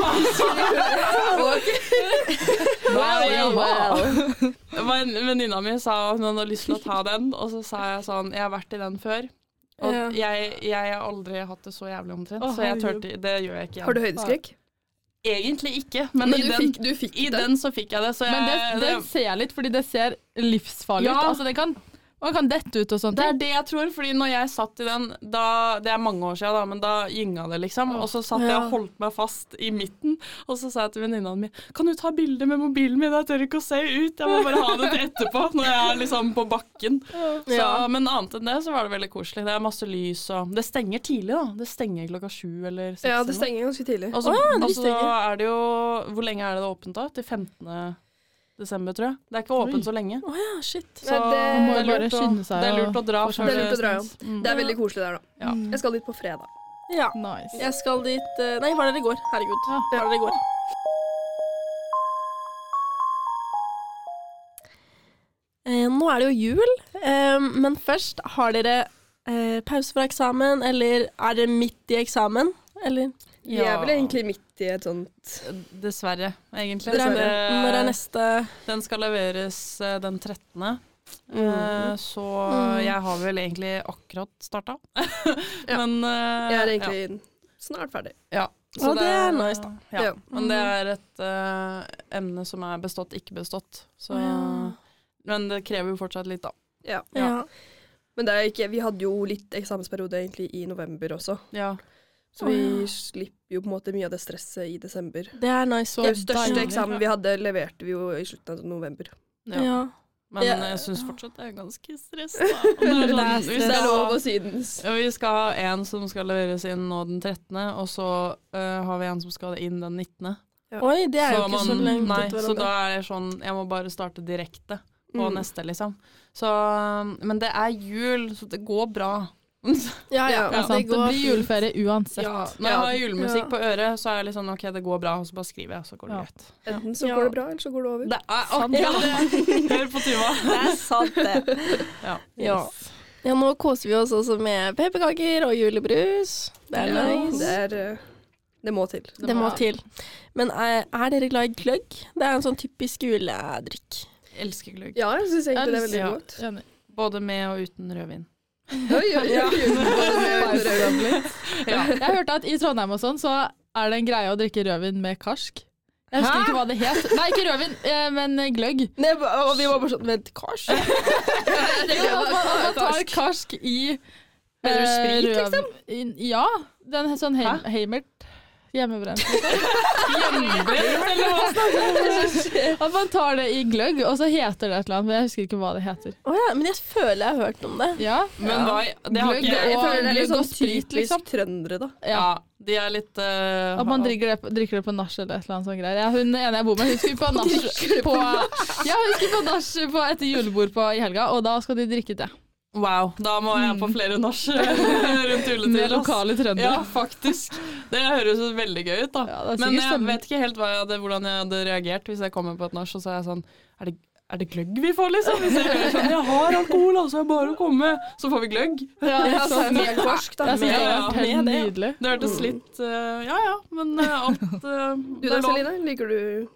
[SPEAKER 3] Wow, wow. Men Venninna mi sa hun hadde lyst til å ta den, og så sa jeg sånn Jeg har vært i den før. Og jeg, jeg har aldri hatt det så jævlig omtrent,
[SPEAKER 4] Å,
[SPEAKER 3] så jeg
[SPEAKER 4] herregud.
[SPEAKER 3] tørte, det gjør jeg ikke igjen.
[SPEAKER 2] Har du høydeskrekk?
[SPEAKER 3] Egentlig ikke, men,
[SPEAKER 2] Men
[SPEAKER 3] i,
[SPEAKER 2] du
[SPEAKER 3] den,
[SPEAKER 2] fikk, du fikk
[SPEAKER 3] i
[SPEAKER 2] det.
[SPEAKER 3] den så fikk jeg det. Så jeg,
[SPEAKER 4] Men det, det ser jeg litt, fordi det ser livsfarlig
[SPEAKER 3] Ja.
[SPEAKER 4] ut. Altså, det kan, man kan dette ut og sånne
[SPEAKER 3] Det er
[SPEAKER 4] ting.
[SPEAKER 3] det jeg tror, fordi når jeg satt i den da, Det er mange år siden, da, men da gynga det, liksom. Og så satt jeg og
[SPEAKER 1] Ja.
[SPEAKER 3] holdt meg fast i midten, og så sa jeg til venninna mi Kan du ta bilde med mobilen min? Jeg tør ikke å se ut. Jeg må bare ha det til etterpå, når jeg er liksom på bakken. Så,
[SPEAKER 1] Ja.
[SPEAKER 3] Men annet enn det så var det veldig koselig. Det er masse lys og Det stenger tidlig, da. Det stenger klokka sju eller seks.
[SPEAKER 2] Ja, det
[SPEAKER 3] eller noe.
[SPEAKER 2] stenger ganske tidlig.
[SPEAKER 3] Og så, og så
[SPEAKER 1] stenger.
[SPEAKER 3] er det jo Hvor lenge er det det er åpent, da? Til 15. desember, tror jeg. Det er ikke åpent så lenge.
[SPEAKER 1] Å ja, shit.
[SPEAKER 3] Så
[SPEAKER 2] Nei,
[SPEAKER 4] Man må
[SPEAKER 2] det-
[SPEAKER 4] jo bare
[SPEAKER 3] lurt å-
[SPEAKER 4] skynde seg. Mm.
[SPEAKER 3] det er lurt
[SPEAKER 4] og-
[SPEAKER 3] å dra
[SPEAKER 4] og
[SPEAKER 3] før
[SPEAKER 2] Det er lurt å dra, ja.
[SPEAKER 4] syns.
[SPEAKER 2] Det er veldig koselig der, da.
[SPEAKER 3] Ja.
[SPEAKER 2] Jeg skal dit på fredag.
[SPEAKER 1] Ja.
[SPEAKER 4] Nice.
[SPEAKER 1] Jeg skal dit eh, Nei, var der i går. Herregud.
[SPEAKER 4] Ja.
[SPEAKER 1] Var der i går. Eh, nå er det jo jul, eh, men først har dere eh, pause fra eksamen, eller er dere midt i eksamen? Eller
[SPEAKER 2] Vi er vel egentlig midt i et sånt
[SPEAKER 3] Dessverre, egentlig.
[SPEAKER 2] Dessverre.
[SPEAKER 3] Det- eh,
[SPEAKER 1] når er neste
[SPEAKER 3] Den skal leveres eh, den 13.
[SPEAKER 2] Mm.
[SPEAKER 3] Eh, Så jeg har vel egentlig akkurat starta.
[SPEAKER 2] Ja.
[SPEAKER 3] Men eh,
[SPEAKER 2] Jeg er egentlig snart ferdig.
[SPEAKER 3] ja. ja.
[SPEAKER 1] Å, det er nice, da.
[SPEAKER 3] Ja.
[SPEAKER 2] Ja. Mm.
[SPEAKER 3] Men det er et eh, emne som er bestått, ikke bestått. Så,
[SPEAKER 1] Å,
[SPEAKER 3] Men det krever jo fortsatt litt, da.
[SPEAKER 2] Ja.
[SPEAKER 1] Ja.
[SPEAKER 2] Men det er ikke, vi hadde jo litt eksamensperiode egentlig i november også,
[SPEAKER 3] Ja.
[SPEAKER 2] så vi slipper jo på en måte mye av det stresset i desember.
[SPEAKER 1] Det er nice.
[SPEAKER 4] Så
[SPEAKER 1] Så,
[SPEAKER 2] Den største
[SPEAKER 4] deilig.
[SPEAKER 2] eksamen vi hadde, leverte vi jo i slutten av november.
[SPEAKER 3] ja.
[SPEAKER 1] ja.
[SPEAKER 3] Men
[SPEAKER 1] Ja.
[SPEAKER 3] jeg syns fortsatt det er ganske stress, da. Og det er sånn,
[SPEAKER 1] Det er
[SPEAKER 3] hvis
[SPEAKER 2] Det er
[SPEAKER 3] jeg-
[SPEAKER 2] lov å synes.
[SPEAKER 3] Ja, vi skal ha en som skal leveres inn nå den 13., og så eh, har vi en som skal inn den 19.
[SPEAKER 1] Oi, det er jo
[SPEAKER 3] Så
[SPEAKER 1] ikke så
[SPEAKER 3] man-
[SPEAKER 1] langt
[SPEAKER 3] nei,
[SPEAKER 1] etter
[SPEAKER 3] Så
[SPEAKER 1] hverandre.
[SPEAKER 3] da er det sånn, jeg må bare starte direkte på
[SPEAKER 2] Mm.
[SPEAKER 3] neste, liksom. Så, eh, men det er jul, så det går bra.
[SPEAKER 1] Ja, ja.
[SPEAKER 2] Ja,
[SPEAKER 4] Det, er sant. det
[SPEAKER 1] går
[SPEAKER 4] blir juleferie uansett.
[SPEAKER 3] Ja, når jeg har julemusikk
[SPEAKER 1] Ja.
[SPEAKER 3] på øret, så er jeg litt sånn ok, det går bra, og så bare skriver jeg, og så går det
[SPEAKER 4] Ja.
[SPEAKER 3] greit.
[SPEAKER 2] Enten så
[SPEAKER 1] Ja.
[SPEAKER 2] går det bra, eller så går det over.
[SPEAKER 3] Det er akkurat det! Hør på Tuva.
[SPEAKER 1] Det er sant, det.
[SPEAKER 3] Ja.
[SPEAKER 1] Ja. Ja, nå koser vi oss også med pepperkaker og julebrus. Det er
[SPEAKER 4] Ja.
[SPEAKER 1] nice.
[SPEAKER 2] Det, er, eh, det må til.
[SPEAKER 1] Det må til. Men er, er dere glad i gløgg? Det er en sånn typisk juledrikk.
[SPEAKER 3] Elsker gløgg.
[SPEAKER 2] Ja, jeg syns egentlig det er veldig
[SPEAKER 3] Ja.
[SPEAKER 2] godt.
[SPEAKER 4] Enig.
[SPEAKER 3] Både med og uten rødvin.
[SPEAKER 2] Oi, oi, oi.
[SPEAKER 4] Spice it up litt.
[SPEAKER 3] Ja.
[SPEAKER 4] Jeg hørte at i Trondheim og sånn, så er det en greie å drikke rødvin med karsk. Jeg husker
[SPEAKER 1] Hæ?
[SPEAKER 4] ikke hva det het. Nei, ikke rødvin, eh, men gløgg.
[SPEAKER 1] Nei, og vi var bare sånn Vent, kars?
[SPEAKER 4] Jo, at man, at man tar karsk i
[SPEAKER 2] Mener du sprit,
[SPEAKER 4] liksom? ja. Den er sånn heim, heimert hjemmebrent. At man tar det i gløgg, og så heter det et eller annet, men jeg husker ikke hva det heter.
[SPEAKER 1] Å ja, men jeg føler jeg har hørt om det.
[SPEAKER 4] Ja,
[SPEAKER 3] Men hva i- Det har
[SPEAKER 4] Gløgg,
[SPEAKER 3] ikke
[SPEAKER 2] Jeg
[SPEAKER 4] og
[SPEAKER 2] føler det er litt
[SPEAKER 4] gløgg og
[SPEAKER 2] sånn
[SPEAKER 4] sprit,
[SPEAKER 2] typisk
[SPEAKER 4] liksom.
[SPEAKER 2] trøndere, da.
[SPEAKER 4] ja.
[SPEAKER 3] Ja, de er litt eh,
[SPEAKER 4] At man drikker det, drikker det på nach eller et eller annet sånt greier. Ja, hun ene jeg bor med, hun skulle på nach på, ja, hun skulle på nach på et julebord på, i helga, og da skal de drikke det.
[SPEAKER 3] Wow, da må jeg på flere nach rundt
[SPEAKER 4] Med
[SPEAKER 3] juletid. ass.
[SPEAKER 4] lokale trøndere.
[SPEAKER 3] Ja, faktisk. Det høres jo veldig gøy ut, da.
[SPEAKER 4] Ja, det
[SPEAKER 3] Men
[SPEAKER 4] er sikkert sånn-
[SPEAKER 3] jeg
[SPEAKER 4] stemning.
[SPEAKER 3] vet ikke helt hva jeg hadde, hvordan jeg hadde reagert hvis jeg kommer på et nach og så er jeg sånn er det, er det gløgg vi får, liksom? Hvis jeg hører sånn Jeg har alkohol, altså, jeg bare å komme. Så får vi gløgg.
[SPEAKER 4] Ja,
[SPEAKER 2] Ja, så er det
[SPEAKER 4] det
[SPEAKER 2] med korsk, da.
[SPEAKER 4] er sikkert
[SPEAKER 3] Ja, ja,
[SPEAKER 4] helt
[SPEAKER 3] med det, ja.
[SPEAKER 4] nydelig.
[SPEAKER 3] Det hørtes litt eh, Ja ja, men eh, alt eh,
[SPEAKER 2] Du
[SPEAKER 3] det
[SPEAKER 2] da,
[SPEAKER 3] er lov.
[SPEAKER 2] Celine? Liker du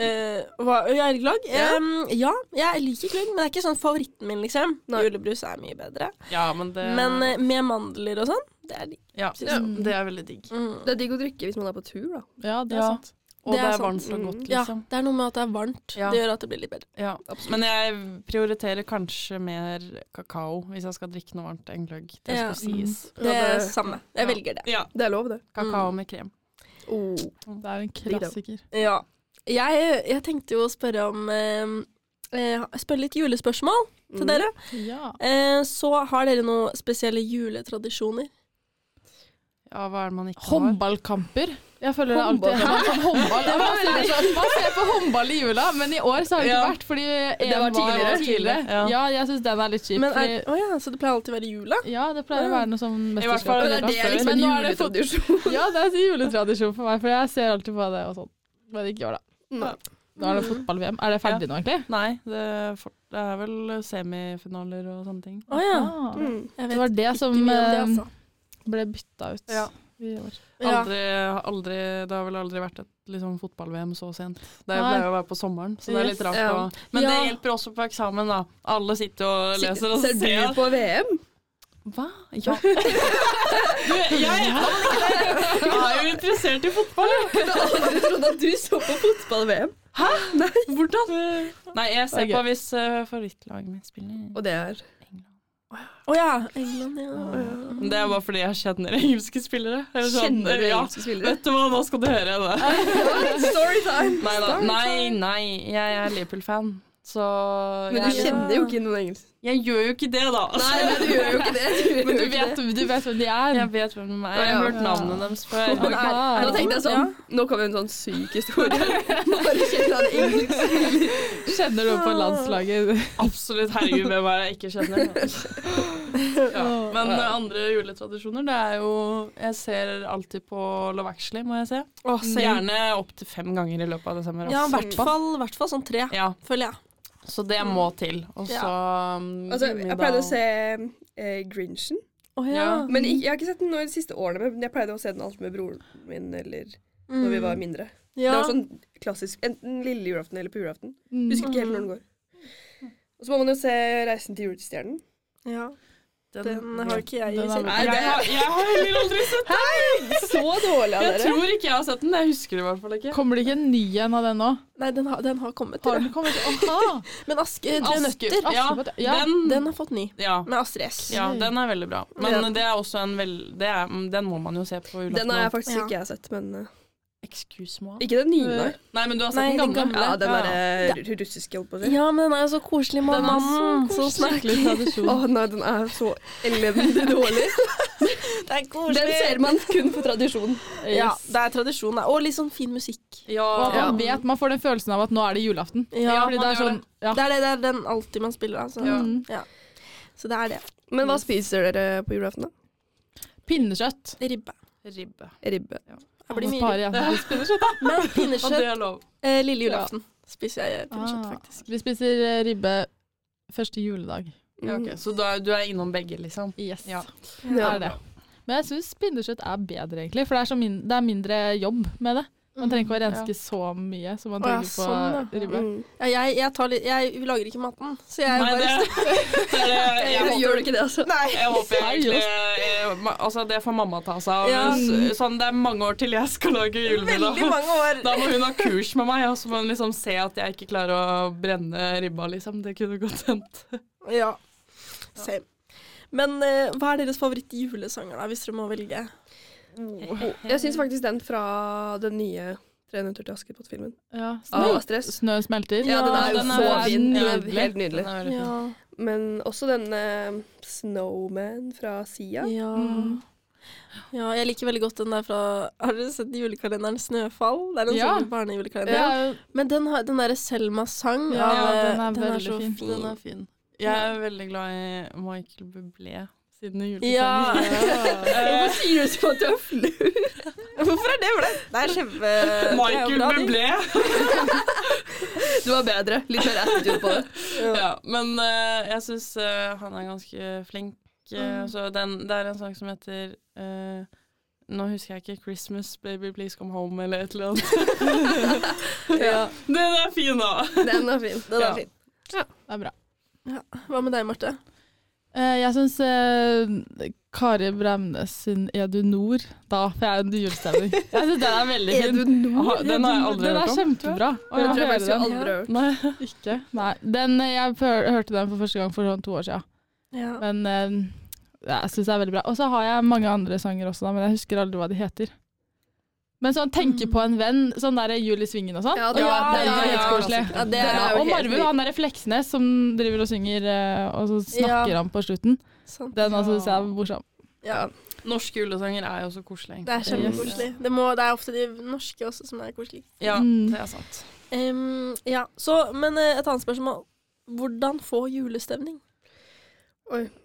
[SPEAKER 1] Eh, hva, jeg er gløgg?
[SPEAKER 2] Ja.
[SPEAKER 1] Em, ja, jeg liker gløgg, men det er ikke sånn favoritten min, liksom.
[SPEAKER 2] Nei.
[SPEAKER 1] Julebrus er mye bedre.
[SPEAKER 3] Ja, men det
[SPEAKER 1] Men eh, med mandler og sånn, det er digg.
[SPEAKER 3] ja, Det er veldig digg.
[SPEAKER 1] Mm.
[SPEAKER 2] Det er digg å drikke hvis man er på tur, da.
[SPEAKER 4] Ja, det er
[SPEAKER 3] Ja.
[SPEAKER 4] sant.
[SPEAKER 3] Og
[SPEAKER 1] Det
[SPEAKER 3] det
[SPEAKER 1] er
[SPEAKER 3] er,
[SPEAKER 1] sant.
[SPEAKER 3] varmt og godt,
[SPEAKER 1] Ja,
[SPEAKER 3] liksom.
[SPEAKER 1] det er noe med at det er varmt.
[SPEAKER 3] Ja.
[SPEAKER 1] Det gjør at det blir litt bedre.
[SPEAKER 3] Ja. Men jeg prioriterer kanskje mer kakao hvis jeg skal drikke noe varmt enn gløgg. Det
[SPEAKER 1] Ja. Mm.
[SPEAKER 3] skulle sies.
[SPEAKER 2] Ja,
[SPEAKER 1] Det er
[SPEAKER 2] det-
[SPEAKER 1] samme. Jeg
[SPEAKER 3] ja.
[SPEAKER 1] velger det.
[SPEAKER 3] Ja,
[SPEAKER 2] Det er lov, det.
[SPEAKER 3] kakao med krem.
[SPEAKER 2] Oh.
[SPEAKER 4] Det er en klassiker.
[SPEAKER 1] Ja. Jeg, jeg tenkte jo å spørre om em, eh, Spørre litt julespørsmål til
[SPEAKER 2] Mm.
[SPEAKER 1] dere.
[SPEAKER 4] Ja.
[SPEAKER 1] Eh, så har dere noen spesielle juletradisjoner?
[SPEAKER 3] Ja, hva er det man ikke har?
[SPEAKER 4] Håndballkamper. Jeg føler det alltid
[SPEAKER 2] Håndball.
[SPEAKER 4] er sånn håndball. Ja, Man ser, så- man ser på håndball i jula, men i år så har det ikke
[SPEAKER 3] Ja.
[SPEAKER 4] vært, fordi en
[SPEAKER 2] var tidligere.
[SPEAKER 3] Ja.
[SPEAKER 4] Ja, jeg syns den er litt kjip.
[SPEAKER 1] Men er,
[SPEAKER 4] fordi,
[SPEAKER 1] å ja, så det pleier alltid å være jula?
[SPEAKER 4] ja, det pleier å være noe sånn
[SPEAKER 3] I hvert fall-
[SPEAKER 4] mesterskap.
[SPEAKER 3] Det er det
[SPEAKER 4] Men
[SPEAKER 2] liksom en
[SPEAKER 4] nå er det fot-
[SPEAKER 2] juletradisjon.
[SPEAKER 4] Ja, det er en juletradisjon for meg, for jeg ser alltid på det og sånn. Men ikke i år, da.
[SPEAKER 2] Nei.
[SPEAKER 4] Da er det fotball-VM. Er det ferdig nå, egentlig?
[SPEAKER 3] Nei, det er, for, det er vel semifinaler og sånne ting.
[SPEAKER 1] Å ja.
[SPEAKER 4] Ah.
[SPEAKER 2] Mm.
[SPEAKER 1] Jeg vet
[SPEAKER 4] Det var det som
[SPEAKER 1] ikke mye om det,
[SPEAKER 4] eh,
[SPEAKER 1] altså.
[SPEAKER 4] ble bytta ut
[SPEAKER 3] Ja.
[SPEAKER 4] i år.
[SPEAKER 1] Ja.
[SPEAKER 3] Aldri, aldri, det har vel aldri vært et liksom, fotball-VM så sent. Det
[SPEAKER 4] Nei.
[SPEAKER 3] pleier å være på sommeren, så det er litt
[SPEAKER 4] Yes.
[SPEAKER 3] rart.
[SPEAKER 2] Ja.
[SPEAKER 3] å- Men det
[SPEAKER 1] Ja.
[SPEAKER 3] hjelper også på eksamen, da. Alle sitter og leser og
[SPEAKER 2] Ser du
[SPEAKER 3] ser.
[SPEAKER 2] på VM?
[SPEAKER 3] Hva? Ja. Du, jeg er jeg er jo interessert i fotball, jeg.
[SPEAKER 2] Jeg hadde aldri trodd at du så på fotball-VM.
[SPEAKER 3] Hvordan? Nei, jeg ser
[SPEAKER 4] Ok.
[SPEAKER 3] på hvis uh, favorittlaget mitt spiller.
[SPEAKER 2] Og det er
[SPEAKER 1] Å ja. England, ja.
[SPEAKER 3] Men Det er bare fordi jeg kjenner engelske spillere. Eller sånn,
[SPEAKER 2] Kjenner du
[SPEAKER 3] ja.
[SPEAKER 2] engelske spillere?
[SPEAKER 3] Vet du hva, nå skal du høre det.
[SPEAKER 2] Storytime!
[SPEAKER 3] Nei, da. nei, nei, jeg er Liverpool-fan. Så
[SPEAKER 2] Men du
[SPEAKER 3] jeg,
[SPEAKER 2] kjenner jo ikke noen engelsk.
[SPEAKER 3] jeg gjør jo ikke det, da.
[SPEAKER 2] Nei, men du gjør jo ikke det. Du gjør
[SPEAKER 4] Men du
[SPEAKER 2] jo ikke
[SPEAKER 4] vet,
[SPEAKER 2] det.
[SPEAKER 4] du vet hvem de er?
[SPEAKER 3] Jeg vet hvem de er.
[SPEAKER 2] Å,
[SPEAKER 3] Jeg
[SPEAKER 2] ja.
[SPEAKER 3] har hørt navnene deres før.
[SPEAKER 1] Men er,
[SPEAKER 4] Ja.
[SPEAKER 1] er
[SPEAKER 2] Da
[SPEAKER 1] det
[SPEAKER 2] tenkte jeg sånn, nå kommer en sånn syk historie. Bare kjenner han engelsk.
[SPEAKER 4] Kjenner du på landslaget?
[SPEAKER 3] Absolutt. Herregud, hvem er det jeg ikke kjenner? Ja. Men eh, andre juletradisjoner, det er jo Jeg ser alltid på Love Actually, må jeg se.
[SPEAKER 1] Å,
[SPEAKER 3] Så gjerne opptil fem ganger i løpet av desember.
[SPEAKER 1] Ja, i
[SPEAKER 3] også.
[SPEAKER 1] hvert fall, hvert fall sånn tre,
[SPEAKER 3] Ja,
[SPEAKER 1] føler jeg.
[SPEAKER 3] så det må til. Og så um,
[SPEAKER 2] Altså, jeg
[SPEAKER 3] Gummidal.
[SPEAKER 2] pleide å se eh, Grinchen.
[SPEAKER 1] Å ja.
[SPEAKER 3] Ja.
[SPEAKER 2] Men jeg, jeg har ikke sett den nå i de siste årene, men jeg pleide å se den alltid med broren min eller
[SPEAKER 1] Mm.
[SPEAKER 2] når vi var mindre.
[SPEAKER 1] Ja.
[SPEAKER 2] Det var sånn klassisk enten lille julaften eller på julaften.
[SPEAKER 4] Mm.
[SPEAKER 2] Husker ikke helt når den går. Og så må man jo se 'Reisen til julestjernen'.
[SPEAKER 1] ja. Den
[SPEAKER 3] ja.
[SPEAKER 1] har ikke jeg
[SPEAKER 4] Den er
[SPEAKER 1] sett.
[SPEAKER 4] bra.
[SPEAKER 3] Nei, jeg har, jeg har heller aldri sett den.
[SPEAKER 2] Så dårlig av
[SPEAKER 3] Jeg
[SPEAKER 2] dere!
[SPEAKER 3] tror ikke jeg har sett den. Jeg husker det i hvert fall ikke.
[SPEAKER 4] Kommer det ikke en ny en av den nå?
[SPEAKER 1] Nei, den har, den har kommet.
[SPEAKER 4] Har
[SPEAKER 1] Tror jeg.
[SPEAKER 4] den kommet? Aha!
[SPEAKER 1] Men Aske, Tre
[SPEAKER 3] Aske-
[SPEAKER 1] nøtter,
[SPEAKER 3] Ja,
[SPEAKER 4] Askepott, ja.
[SPEAKER 3] Den,
[SPEAKER 1] den har fått ny.
[SPEAKER 3] ja.
[SPEAKER 1] Med Astrid S.
[SPEAKER 3] ja, den er veldig bra. Men
[SPEAKER 1] Ja.
[SPEAKER 3] det er også en veld... Det er, mm, den må man jo se på julaften.
[SPEAKER 2] Den har jeg faktisk
[SPEAKER 1] Ja.
[SPEAKER 2] ikke jeg sett, men eh,
[SPEAKER 3] Excuse me.
[SPEAKER 2] Ikke den nye, nei.
[SPEAKER 3] Nei, men du har sett
[SPEAKER 1] Nei,
[SPEAKER 3] den
[SPEAKER 1] den
[SPEAKER 3] gamle.
[SPEAKER 1] gamle.
[SPEAKER 2] Ja, den eh,
[SPEAKER 3] Ja.
[SPEAKER 2] derre ru- russiske, holdt på å si.
[SPEAKER 1] Ja, men den er jo så koselig med
[SPEAKER 4] Den er
[SPEAKER 1] mannen
[SPEAKER 4] så
[SPEAKER 1] som snakker.
[SPEAKER 4] Skikkelig tradisjon.
[SPEAKER 2] Å nei, den er så elendig dårlig.
[SPEAKER 1] Det er
[SPEAKER 2] Den ser man kun på tradisjon.
[SPEAKER 1] Ja,
[SPEAKER 4] Yes.
[SPEAKER 1] det er tradisjon. da. Og litt sånn fin musikk.
[SPEAKER 3] Ja,
[SPEAKER 4] Og at
[SPEAKER 2] Ja.
[SPEAKER 4] man vet, man får den følelsen av at nå er det julaften.
[SPEAKER 1] Ja,
[SPEAKER 4] Fordi
[SPEAKER 3] man
[SPEAKER 4] det er
[SPEAKER 3] gjør
[SPEAKER 4] sånn, ja.
[SPEAKER 1] Det er det, det er den alltid man spiller, altså.
[SPEAKER 3] Ja.
[SPEAKER 4] Mm.
[SPEAKER 1] Så det er det.
[SPEAKER 2] Men hva spiser dere på julaften, da?
[SPEAKER 4] Pinnekjøtt.
[SPEAKER 1] Ribbe.
[SPEAKER 3] Ribbe.
[SPEAKER 2] Ribbe.
[SPEAKER 1] Det blir
[SPEAKER 4] Hos
[SPEAKER 1] mye.
[SPEAKER 4] Pari, ja.
[SPEAKER 1] ribbe. Men
[SPEAKER 3] Og det
[SPEAKER 1] pinnekjøtt
[SPEAKER 3] er lov.
[SPEAKER 1] eh, lille julaften spiser jeg eh, pinnekjøtt,
[SPEAKER 4] Ah,
[SPEAKER 1] faktisk.
[SPEAKER 4] Vi spiser eh, ribbe første juledag.
[SPEAKER 3] Ja, ok. Så du er, du er innom begge, liksom?
[SPEAKER 4] Yes.
[SPEAKER 3] Ja.
[SPEAKER 2] Mm.
[SPEAKER 4] Det er det. Men jeg syns pinneskjøtt er bedre, egentlig. For det er, så min det er mindre jobb med det. Man trenger ikke å renske så mye som man
[SPEAKER 1] Å, ja,
[SPEAKER 4] trenger på
[SPEAKER 1] sånn,
[SPEAKER 2] Mm.
[SPEAKER 4] ribbe.
[SPEAKER 1] Ja, jeg, jeg, tar litt, jeg lager ikke maten, så jeg
[SPEAKER 3] Nei, det,
[SPEAKER 1] bare
[SPEAKER 3] det er det jeg
[SPEAKER 2] Gjør,
[SPEAKER 3] håper-
[SPEAKER 2] gjør du ikke det, altså?
[SPEAKER 1] Nei.
[SPEAKER 3] Jeg håper egentlig
[SPEAKER 4] Seriøst?
[SPEAKER 3] eh, ma- Altså, det får mamma ta seg av.
[SPEAKER 1] Ja.
[SPEAKER 3] men s- Sånn, det er mange år til jeg skal lage
[SPEAKER 1] Veldig
[SPEAKER 3] julemiddag.
[SPEAKER 1] mange år.
[SPEAKER 3] Da må hun ha kurs med meg, og så må hun liksom se at jeg ikke klarer å brenne ribba, liksom. Det kunne godt hendt.
[SPEAKER 1] Ja. Same. Men eh, hva er deres favorittjulesanger, da, hvis dere må velge?
[SPEAKER 2] Jeg syns faktisk den fra den nye 300 til Askepott-filmen.
[SPEAKER 4] Ja, snø,
[SPEAKER 2] Av stress.
[SPEAKER 4] snø smelter.
[SPEAKER 2] Ja, den er jo
[SPEAKER 3] den er-
[SPEAKER 2] så
[SPEAKER 3] er
[SPEAKER 2] fin. Den er
[SPEAKER 4] nydelig.
[SPEAKER 2] Helt nydelig.
[SPEAKER 1] Ja.
[SPEAKER 2] Men også den eh, Snowman fra Sia.
[SPEAKER 1] Ja.
[SPEAKER 4] Mm.
[SPEAKER 1] ja. Jeg liker veldig godt den der fra Har dere sett julekalenderen Snøfall? Det er en
[SPEAKER 4] Ja.
[SPEAKER 1] sånn
[SPEAKER 4] Det
[SPEAKER 1] barnejulekalender.
[SPEAKER 4] er jo-
[SPEAKER 1] Men den, har- den derre Selmas sang
[SPEAKER 4] Ja,
[SPEAKER 1] av, eh,
[SPEAKER 4] den er veldig
[SPEAKER 1] så
[SPEAKER 4] fin.
[SPEAKER 1] fin.
[SPEAKER 3] fin. Jeg er veldig glad i Michael Bublé siden
[SPEAKER 1] Ja.
[SPEAKER 3] julesangen.
[SPEAKER 2] Eh, Hvorfor sier du sånn at du er flau?
[SPEAKER 1] Hvorfor er det for det? Det er kjempe det er jo
[SPEAKER 3] Michael
[SPEAKER 1] bra, det.
[SPEAKER 3] Bublé!
[SPEAKER 2] Du var bedre. Litt mer attitude på det.
[SPEAKER 3] Ja, men eh, jeg syns han er ganske flink. eh, Så den, det er en sang som heter eh, Nå husker jeg ikke 'Christmas Baby Please Come Home' eller et eller annet.
[SPEAKER 2] Ja,
[SPEAKER 3] Den er fin, da!
[SPEAKER 2] den er fin. Den
[SPEAKER 3] Ja.
[SPEAKER 2] er fin.
[SPEAKER 4] det er bra.
[SPEAKER 1] Hva med deg, Marte?
[SPEAKER 4] Eh, jeg syns eh, Kari Bremnes sin Er du nord? Da får jeg en julestemning. Jeg synes den er veldig
[SPEAKER 2] Er
[SPEAKER 4] fin.
[SPEAKER 2] du nord?
[SPEAKER 3] Aha, den har jeg aldri
[SPEAKER 4] den
[SPEAKER 3] hørt
[SPEAKER 4] er
[SPEAKER 3] om.
[SPEAKER 4] kjempebra.
[SPEAKER 3] Oi,
[SPEAKER 2] Den tror
[SPEAKER 4] Ja,
[SPEAKER 2] jeg
[SPEAKER 4] hører
[SPEAKER 2] faktisk jeg
[SPEAKER 4] den.
[SPEAKER 2] aldri har hørt.
[SPEAKER 3] Nei.
[SPEAKER 4] Ikke? Nei. Den, eh, jeg før- hørte den for første gang for sånn to år siden.
[SPEAKER 1] Ja.
[SPEAKER 4] Men eh, jeg syns det er veldig bra. Og så har jeg mange andre sanger også, da, men jeg husker aldri hva de heter. Men sånn tenke på en venn, sånn der Jul i svingen og sånn.
[SPEAKER 2] Ja,
[SPEAKER 4] den,
[SPEAKER 2] den er-
[SPEAKER 4] den,
[SPEAKER 2] den
[SPEAKER 4] er
[SPEAKER 2] er
[SPEAKER 4] helt
[SPEAKER 2] jo
[SPEAKER 1] altså,
[SPEAKER 4] koselig.
[SPEAKER 2] klassiker. Ja, det
[SPEAKER 4] Den
[SPEAKER 2] er
[SPEAKER 4] er-
[SPEAKER 2] jo
[SPEAKER 4] og
[SPEAKER 2] helt
[SPEAKER 4] Marve,
[SPEAKER 2] nydelig.
[SPEAKER 4] han derre Fleksnes som driver og synger, eh, og så snakker
[SPEAKER 1] Ja.
[SPEAKER 4] han på slutten.
[SPEAKER 1] Sant.
[SPEAKER 4] Den også syns jeg er morsom.
[SPEAKER 1] Ja.
[SPEAKER 3] Norske julesanger er jo så koselige.
[SPEAKER 1] Det er kjempekoselig. Det, må- det er ofte de norske også som er koselige.
[SPEAKER 3] Ja,
[SPEAKER 4] Mm.
[SPEAKER 3] det er sant.
[SPEAKER 1] Em, ja, så, men eh, et annet spørsmål. Hvordan få julestemning?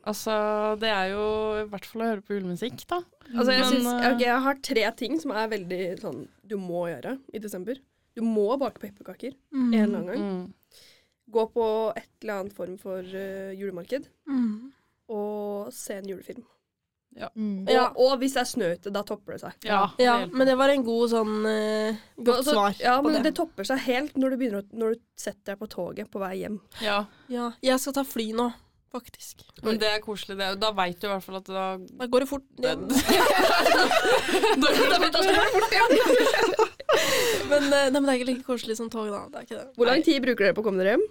[SPEAKER 3] Altså, det er jo i hvert fall å høre på julemusikk, da.
[SPEAKER 2] Altså, jeg,
[SPEAKER 3] Men,
[SPEAKER 2] synes,
[SPEAKER 3] eh,
[SPEAKER 2] ok, jeg har tre ting som er veldig sånn du må gjøre i desember. Du må bake pepperkaker en eller annen gang.
[SPEAKER 3] Mm.
[SPEAKER 2] Gå på et eller annet form for eh, julemarked.
[SPEAKER 1] Mm.
[SPEAKER 2] Og se en julefilm.
[SPEAKER 4] Mm.
[SPEAKER 2] Og,
[SPEAKER 1] Ja.
[SPEAKER 2] og hvis det er snø ute, da topper det seg.
[SPEAKER 3] Ja,
[SPEAKER 1] Ja,
[SPEAKER 3] det er-
[SPEAKER 1] men det var en god sånn eh, godt
[SPEAKER 2] Altså,
[SPEAKER 1] svar
[SPEAKER 2] ja,
[SPEAKER 1] på
[SPEAKER 2] men
[SPEAKER 1] det.
[SPEAKER 2] det. topper seg helt når du, begynner å, når du setter deg på toget på vei hjem.
[SPEAKER 3] ja.
[SPEAKER 1] Ja, jeg skal ta fly nå, faktisk.
[SPEAKER 3] Men det er koselig. Det. er- Da veit du i hvert fall at da
[SPEAKER 1] Da går det fort. hjem. Men, eh, nei, men det er ikke like koselig som tog, da. Det er ikke det.
[SPEAKER 2] Hvor lang tid bruker dere på å komme dere hjem?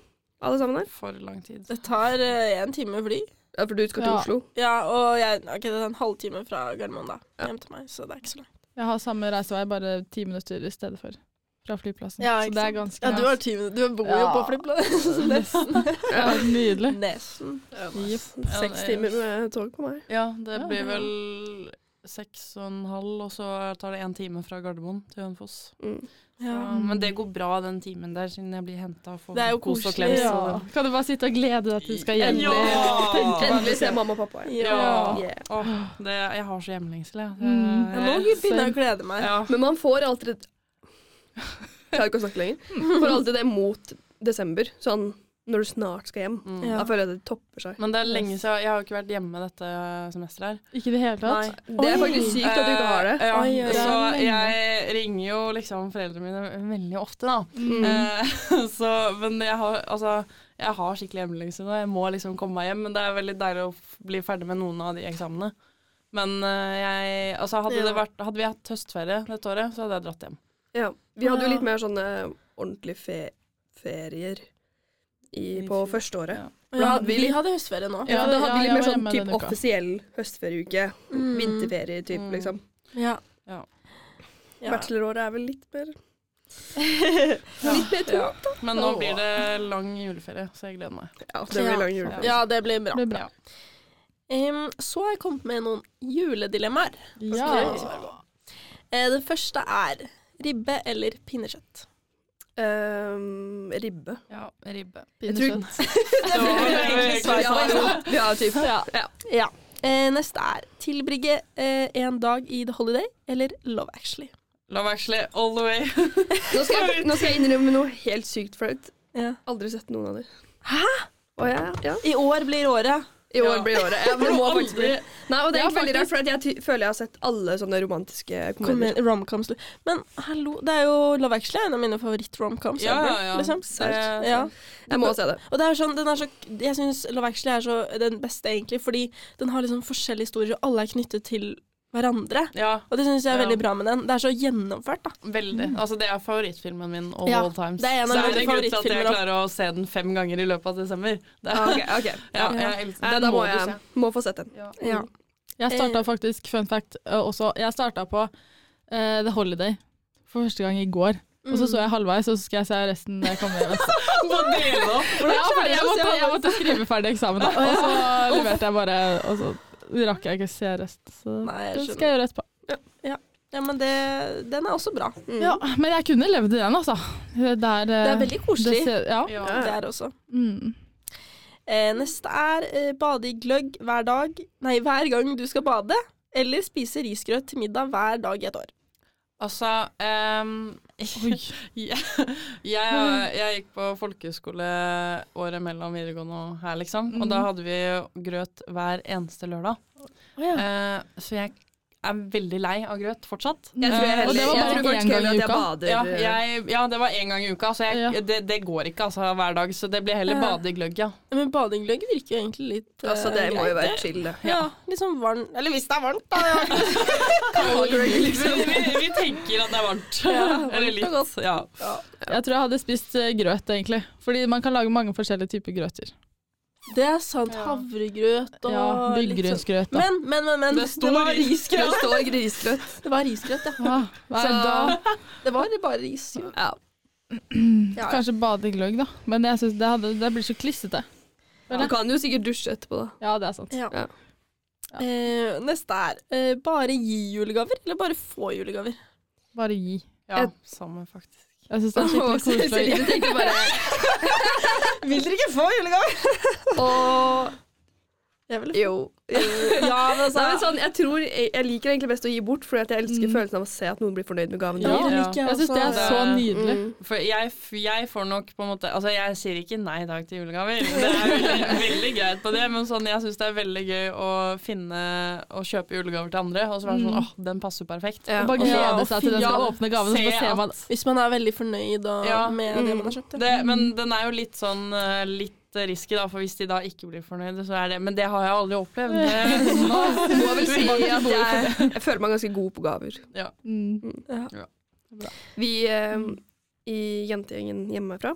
[SPEAKER 2] Alle sammen her?
[SPEAKER 3] For lang tid.
[SPEAKER 1] Det tar eh, en time fly.
[SPEAKER 2] Ja, for du skal til
[SPEAKER 4] Ja.
[SPEAKER 2] Oslo.
[SPEAKER 1] Ja, og jeg, ok, det er en halvtime fra Gardermoen da, hjem til meg, så det er ikke så langt.
[SPEAKER 4] Jeg har samme reisevei, bare ti minutter i stedet for. Fra flyplassen.
[SPEAKER 1] Ja,
[SPEAKER 4] så
[SPEAKER 1] ikke
[SPEAKER 4] det er
[SPEAKER 1] sant.
[SPEAKER 4] ganske
[SPEAKER 1] Ja, du, har ti minutter. du bor jo på
[SPEAKER 4] Ja.
[SPEAKER 1] flyplassen. Nesten.
[SPEAKER 4] Ja, Nydelig.
[SPEAKER 1] Nesten.
[SPEAKER 4] Jepp.
[SPEAKER 3] Ja,
[SPEAKER 2] Seks
[SPEAKER 3] det-
[SPEAKER 2] timer med tog på meg.
[SPEAKER 3] Ja, det
[SPEAKER 4] Ja,
[SPEAKER 3] blir
[SPEAKER 4] det-
[SPEAKER 3] vel seks og en halv, og så tar det en time fra Gardermoen til Hønefoss.
[SPEAKER 2] Mm.
[SPEAKER 1] Ja.
[SPEAKER 3] Ja, men det går bra den timen der, siden jeg blir henta og får
[SPEAKER 1] Det er jo
[SPEAKER 3] kos og
[SPEAKER 1] koselig,
[SPEAKER 3] klems.
[SPEAKER 1] ja.
[SPEAKER 3] og-
[SPEAKER 4] Kan du bare sitte og glede deg til du skal hjem?
[SPEAKER 3] Ja!
[SPEAKER 4] Tenke på
[SPEAKER 2] Endelig se mamma og pappa. igjen.
[SPEAKER 3] Ja.
[SPEAKER 2] Yeah.
[SPEAKER 3] Åh, det, jeg har så hjemlengsel, jeg.
[SPEAKER 4] Mm.
[SPEAKER 1] Ja, nå begynner jeg å glede meg.
[SPEAKER 3] Ja.
[SPEAKER 2] Men man får alltid Klarer ikke å snakke lenger. Får alltid det mot desember. Sånn når du snart skal hjem.
[SPEAKER 3] Mm.
[SPEAKER 1] Ja.
[SPEAKER 2] Da føler jeg det topper seg.
[SPEAKER 3] Men det er lenge siden. Jeg har jo ikke vært hjemme dette semesteret her.
[SPEAKER 4] Ikke i det hele tatt?
[SPEAKER 2] Det er faktisk sykt at du ikke har det.
[SPEAKER 3] Eh, Ja,
[SPEAKER 1] Oi, oi, oi.
[SPEAKER 3] så
[SPEAKER 4] Det er
[SPEAKER 3] jeg ringer jo liksom foreldrene mine veldig ofte, da.
[SPEAKER 2] Mm.
[SPEAKER 3] Eh, så, men jeg har, altså, jeg har skikkelig hjemlengsel nå. Jeg må liksom komme meg hjem. Men det er veldig deilig å f- bli ferdig med noen av de eksamene. Men eh, jeg, altså, hadde, det
[SPEAKER 1] Ja.
[SPEAKER 3] vært, hadde vi hatt høstferie dette året, så hadde jeg dratt hjem.
[SPEAKER 2] Ja. Vi hadde jo
[SPEAKER 1] Ja.
[SPEAKER 2] litt mer sånne ordentlige fe ferier i,
[SPEAKER 3] I
[SPEAKER 2] på
[SPEAKER 3] fjor,
[SPEAKER 2] førsteåret.
[SPEAKER 3] ja.
[SPEAKER 1] Ja, vi hadde høstferie nå.
[SPEAKER 2] Ja,
[SPEAKER 4] Ja,
[SPEAKER 2] da hadde vi
[SPEAKER 4] jeg
[SPEAKER 2] litt mer
[SPEAKER 4] var
[SPEAKER 2] sånn
[SPEAKER 4] hjemme
[SPEAKER 2] typ
[SPEAKER 4] denne uka.
[SPEAKER 2] offisiell høstferieuke.
[SPEAKER 1] Mm.
[SPEAKER 2] Vinterferie, typ,
[SPEAKER 3] Mm.
[SPEAKER 2] liksom.
[SPEAKER 1] Ja.
[SPEAKER 3] Ja.
[SPEAKER 1] Ja.
[SPEAKER 2] Bacheloråret er vel litt mer
[SPEAKER 3] Ja. Men nå blir det lang juleferie, så jeg gleder meg.
[SPEAKER 2] Ja, det blir
[SPEAKER 1] Ja.
[SPEAKER 2] lang juleferie.
[SPEAKER 1] Ja, det blir bra.
[SPEAKER 4] Det blir bra.
[SPEAKER 1] Em, så har jeg kommet med noen juledilemmaer.
[SPEAKER 4] Ja.
[SPEAKER 1] Eh, det første er ribbe eller pinnekjøtt.
[SPEAKER 2] Ehm, ribbe.
[SPEAKER 3] Ja, ribbe.
[SPEAKER 2] Jeg tror-
[SPEAKER 4] Pinnekjøtt.
[SPEAKER 3] Det var
[SPEAKER 2] Ja,
[SPEAKER 3] egentlig svar på det.
[SPEAKER 2] ja, typ.
[SPEAKER 1] Ja. Eh, neste er tilbringe eh, en dag i The Holiday eller Love Actually.
[SPEAKER 3] Love actually all the way.
[SPEAKER 2] Nå skal, jeg, nå skal jeg innrømme noe helt sykt flaut.
[SPEAKER 1] Ja.
[SPEAKER 2] Aldri sett noen av dem. Og jeg, ja.
[SPEAKER 1] I år blir året.
[SPEAKER 2] I år blir året. Ja, men det må faktisk bli. Nei, og det er
[SPEAKER 4] Ja,
[SPEAKER 2] egentlig veldig rart,
[SPEAKER 4] faktisk.
[SPEAKER 2] for at jeg ty- føler jeg har sett alle sånne romantiske
[SPEAKER 1] Kommer
[SPEAKER 2] komedier.
[SPEAKER 1] romcoms. Men hallo, det er jo Love Actually er en av mine favoritt-romcoms.
[SPEAKER 3] Ja,
[SPEAKER 1] ever,
[SPEAKER 3] ja, ja.
[SPEAKER 1] Liksom.
[SPEAKER 2] Sært.
[SPEAKER 1] ja.
[SPEAKER 2] Jeg må se det.
[SPEAKER 1] Og det er sånn, den er så, jeg syns Love Actually er så den beste, egentlig, fordi den har liksom forskjellige historier, og alle er knyttet til hverandre.
[SPEAKER 3] Ja,
[SPEAKER 1] Og det syns jeg er
[SPEAKER 3] Ja.
[SPEAKER 1] veldig bra med den. Det er så gjennomført, da.
[SPEAKER 3] veldig. Altså, det er favorittfilmen min all,
[SPEAKER 1] Ja,
[SPEAKER 3] all times.
[SPEAKER 1] det er en av
[SPEAKER 3] Så
[SPEAKER 1] mine
[SPEAKER 3] en grunn til at jeg
[SPEAKER 1] favorittfilmer også.
[SPEAKER 3] klarer å se den fem ganger i løpet av desember. Det
[SPEAKER 2] Ah,
[SPEAKER 3] er,
[SPEAKER 2] ok, ok.
[SPEAKER 3] ja,
[SPEAKER 1] Ja.
[SPEAKER 3] jeg elsker
[SPEAKER 2] Nei,
[SPEAKER 3] den.
[SPEAKER 2] da må
[SPEAKER 3] må du
[SPEAKER 2] jeg
[SPEAKER 3] se.
[SPEAKER 2] må få sett den.
[SPEAKER 1] Ja.
[SPEAKER 3] Mm.
[SPEAKER 4] Jeg starta faktisk, fun fact eh, også, jeg starta på eh, The Holiday for første gang i går. Og så så
[SPEAKER 1] Mm.
[SPEAKER 4] jeg halvveis, og så skal jeg se resten når jeg kommer hjem.
[SPEAKER 3] Må dele opp.
[SPEAKER 4] Ja, fordi jeg,
[SPEAKER 1] du å
[SPEAKER 4] måtte,
[SPEAKER 1] se
[SPEAKER 4] jeg måtte skrive ferdig eksamen, da. Og så leverte jeg bare, og så rakk jeg ikke se resten. Så
[SPEAKER 1] Nei, jeg
[SPEAKER 4] det skal
[SPEAKER 1] skjønner.
[SPEAKER 4] jeg gjøre etterpå.
[SPEAKER 1] Ja, men det, den er også bra.
[SPEAKER 2] Mm.
[SPEAKER 4] Ja, men jeg kunne levd i den, altså. Det er,
[SPEAKER 1] Det er veldig koselig.
[SPEAKER 4] Det
[SPEAKER 1] Det,
[SPEAKER 4] ser, ja.
[SPEAKER 3] Ja.
[SPEAKER 2] Ja.
[SPEAKER 1] er også.
[SPEAKER 4] Mm.
[SPEAKER 1] Eh, neste er eh, bade i gløgg hver dag Nei, hver gang du skal bade. Eller spise risgrøt til middag hver dag i et år.
[SPEAKER 3] Altså, ehm,
[SPEAKER 4] Oi.
[SPEAKER 3] jeg, jeg,
[SPEAKER 2] Mm.
[SPEAKER 3] eh, jeg gikk på folkehøyskole året mellom videregående og her, liksom. Og
[SPEAKER 2] Mm.
[SPEAKER 3] da hadde vi grøt hver eneste lørdag. Eh, så jeg er veldig lei av grøt fortsatt.
[SPEAKER 2] Mm. Jeg tror, jeg
[SPEAKER 4] Eh, og
[SPEAKER 2] heller,
[SPEAKER 4] det var
[SPEAKER 2] jeg
[SPEAKER 4] bare
[SPEAKER 2] tror faktisk
[SPEAKER 4] én gang
[SPEAKER 2] heller at
[SPEAKER 4] i
[SPEAKER 2] jeg
[SPEAKER 4] uka.
[SPEAKER 2] bader.
[SPEAKER 3] Ja, jeg, ja, det var én gang i uka, så jeg,
[SPEAKER 4] Ja.
[SPEAKER 3] det, det går ikke altså, hver dag. Så det blir heller
[SPEAKER 1] Ja.
[SPEAKER 3] bade i gløgg, ja.
[SPEAKER 1] Men bade i gløgg virker jo egentlig litt eh,
[SPEAKER 2] altså, det må jo
[SPEAKER 1] greit,
[SPEAKER 2] være
[SPEAKER 1] det.
[SPEAKER 2] chill. det.
[SPEAKER 1] Ja, litt sånn varm Eller hvis det er varmt, da.
[SPEAKER 3] Liksom. vi, vi, vi tenker at det er varmt.
[SPEAKER 1] Ja, varmt
[SPEAKER 3] Eller
[SPEAKER 1] og
[SPEAKER 3] litt. Ja.
[SPEAKER 4] Jeg tror jeg hadde spist eh, grøt, egentlig. Fordi man kan lage mange forskjellige typer grøter.
[SPEAKER 1] Det er sant.
[SPEAKER 3] Ja.
[SPEAKER 1] Havregrøt og
[SPEAKER 4] Ja,
[SPEAKER 1] litt sånn-
[SPEAKER 4] Byggrynsgrøt, da.
[SPEAKER 1] Men, men, men, men
[SPEAKER 3] Det
[SPEAKER 1] det,
[SPEAKER 3] står
[SPEAKER 1] var
[SPEAKER 3] ris-
[SPEAKER 2] Det
[SPEAKER 1] risgrøt.
[SPEAKER 2] står grisgrøt.
[SPEAKER 1] Det var risgrøt, ja.
[SPEAKER 4] Ah, nei,
[SPEAKER 2] Så-
[SPEAKER 4] da
[SPEAKER 1] Det var bare risgrøt.
[SPEAKER 2] Ja.
[SPEAKER 1] Ja.
[SPEAKER 4] kanskje bade i gløgg, da. Men jeg synes det, hadde, det blir så klissete.
[SPEAKER 2] Du kan jo sikkert dusje etterpå, da.
[SPEAKER 4] Ja, det er sant.
[SPEAKER 1] Ja.
[SPEAKER 2] Ja.
[SPEAKER 1] Eh, neste er eh, bare gi julegaver, eller bare få julegaver?
[SPEAKER 4] Bare gi.
[SPEAKER 3] ja. Samme, faktisk.
[SPEAKER 4] Jeg syns det er
[SPEAKER 2] Åh,
[SPEAKER 4] skikkelig koselig.
[SPEAKER 2] Celine tenkte bare
[SPEAKER 1] Vil dere ikke få julegaver?
[SPEAKER 2] Og
[SPEAKER 1] Jeg vil
[SPEAKER 2] jo.
[SPEAKER 1] Ja, men
[SPEAKER 2] Nei, men
[SPEAKER 1] altså Mm.
[SPEAKER 2] sånn, jeg, tror, jeg, jeg liker egentlig best å gi bort, fordi at jeg elsker følelsen av å se at noen blir fornøyd med gaven. du
[SPEAKER 1] Ja,
[SPEAKER 2] gir.
[SPEAKER 1] det
[SPEAKER 3] Ja.
[SPEAKER 1] liker jeg
[SPEAKER 4] Jeg syns det er
[SPEAKER 1] også.
[SPEAKER 4] så nydelig.
[SPEAKER 2] Mm.
[SPEAKER 3] For jeg, f- jeg får nok på en måte Altså, jeg sier ikke nei i dag til julegaver. Det er veldig, veldig greit på det, men sånn, jeg syns det er veldig gøy å finne og kjøpe julegaver til andre, og så være sånn åh, den passer perfekt.
[SPEAKER 2] Ja.
[SPEAKER 4] Og bare
[SPEAKER 1] Ja,
[SPEAKER 4] glede
[SPEAKER 1] og
[SPEAKER 4] seg til den skal
[SPEAKER 3] fy-
[SPEAKER 4] åpne gaven, så
[SPEAKER 3] se
[SPEAKER 4] bare ser man
[SPEAKER 1] Hvis man er veldig fornøyd og,
[SPEAKER 3] Ja,
[SPEAKER 1] med det
[SPEAKER 2] mm.
[SPEAKER 1] man har kjøpt.
[SPEAKER 3] Det, men den er jo litt sånn eh, litt risky, da, for hvis de da ikke blir fornøyde, så er det Men det har jeg aldri opplevd. Det, sånn,
[SPEAKER 2] Jeg må vel si at jeg, jeg føler meg ganske god på gaver.
[SPEAKER 4] mm.
[SPEAKER 2] Vi eh,
[SPEAKER 1] Mm.
[SPEAKER 2] i jentegjengen hjemmefra,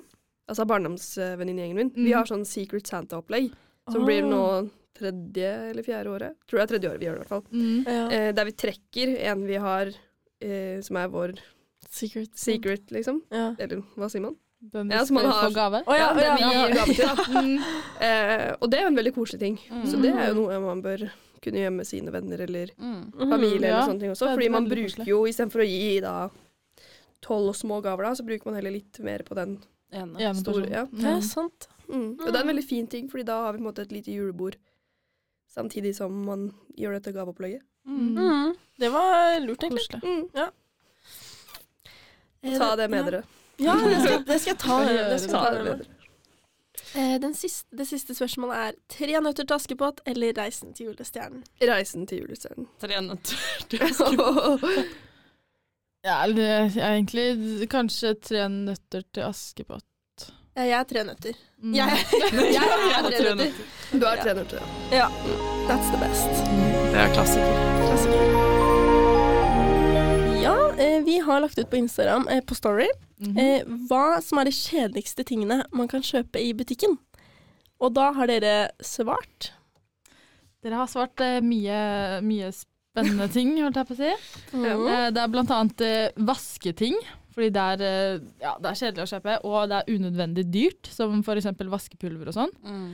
[SPEAKER 2] altså barndomsvenninnegjengen min, vi
[SPEAKER 4] Mm.
[SPEAKER 2] har sånn Secret Santa-opplegg, som blir nå
[SPEAKER 1] Ah.
[SPEAKER 2] tredje eller fjerde året. Tror jeg er tredje året vi gjør det, i hvert fall.
[SPEAKER 4] Mm.
[SPEAKER 1] ja.
[SPEAKER 2] Eh, der vi trekker en vi har eh, som er vår
[SPEAKER 1] Secret.
[SPEAKER 2] secret, liksom.
[SPEAKER 1] Ja.
[SPEAKER 2] Eller hva sier man?
[SPEAKER 4] Den
[SPEAKER 2] Ja,
[SPEAKER 4] du
[SPEAKER 2] som man
[SPEAKER 4] skal
[SPEAKER 2] har-
[SPEAKER 4] få gave.
[SPEAKER 1] Å ja,
[SPEAKER 2] den
[SPEAKER 1] ja,
[SPEAKER 2] vi
[SPEAKER 1] ja.
[SPEAKER 2] gir gave til, da.
[SPEAKER 4] Mm.
[SPEAKER 2] Eh, og det er jo en veldig koselig ting. Så
[SPEAKER 3] Mm.
[SPEAKER 2] det er jo noe man bør kunne gjøre med sine venner eller
[SPEAKER 3] Mm.
[SPEAKER 1] Mhm.
[SPEAKER 2] familie.
[SPEAKER 4] ja.
[SPEAKER 2] eller sånne ting også.
[SPEAKER 4] Det er
[SPEAKER 2] Fordi man
[SPEAKER 4] veldig
[SPEAKER 2] bruker
[SPEAKER 4] koselig.
[SPEAKER 2] jo, istedenfor å gi da tolv små gaver, da, så bruker man heller litt mer på den
[SPEAKER 3] Enig.
[SPEAKER 4] Ene
[SPEAKER 2] store.
[SPEAKER 4] personen.
[SPEAKER 2] Ja.
[SPEAKER 1] Det er sant.
[SPEAKER 2] Mm. Og det er en veldig fin ting, fordi da har vi på en måte et lite julebord. Samtidig som man gjør dette gaveopplegget.
[SPEAKER 3] Mm.
[SPEAKER 1] Mm. Det var lurt, egentlig.
[SPEAKER 4] Koselig.
[SPEAKER 2] Mm.
[SPEAKER 1] Eh,
[SPEAKER 2] Ta det med dere.
[SPEAKER 1] Ja, det skal, det skal jeg ta. Det skal jeg ta
[SPEAKER 2] Ta det
[SPEAKER 1] med
[SPEAKER 2] med
[SPEAKER 1] meg.
[SPEAKER 2] dere.
[SPEAKER 1] Eh, den siste, det siste spørsmålet er Tre nøtter til Askepott eller Reisen til julestjernen?
[SPEAKER 2] Reisen til julestjernen.
[SPEAKER 3] Trenet.
[SPEAKER 4] Ja, eller jeg er egentlig kanskje tre nøtter til Askepott.
[SPEAKER 1] Ja, Eh, jeg er tre nøtter.
[SPEAKER 4] Mm.
[SPEAKER 1] Jeg, jeg er
[SPEAKER 3] Jeg er
[SPEAKER 1] tre
[SPEAKER 3] tre
[SPEAKER 1] nøtter.
[SPEAKER 2] du er trener til det.
[SPEAKER 1] Ja. That's the best.
[SPEAKER 3] Det er klassiker.
[SPEAKER 1] Ja, eh, vi har lagt ut på Instagram eh, på Story
[SPEAKER 2] Mm.
[SPEAKER 4] Mhm.
[SPEAKER 1] eh, hva som er de kjedeligste tingene man kan kjøpe i butikken. Og da har dere svart.
[SPEAKER 4] Dere har svart eh, mye, mye spennende ting, holdt jeg på å si.
[SPEAKER 1] Mm.
[SPEAKER 4] Eh, det er blant annet eh, vasketing, fordi det er, eh, ja, det er kjedelig å kjøpe, og det er unødvendig dyrt, som for eksempel vaskepulver og sånn.
[SPEAKER 3] Mm.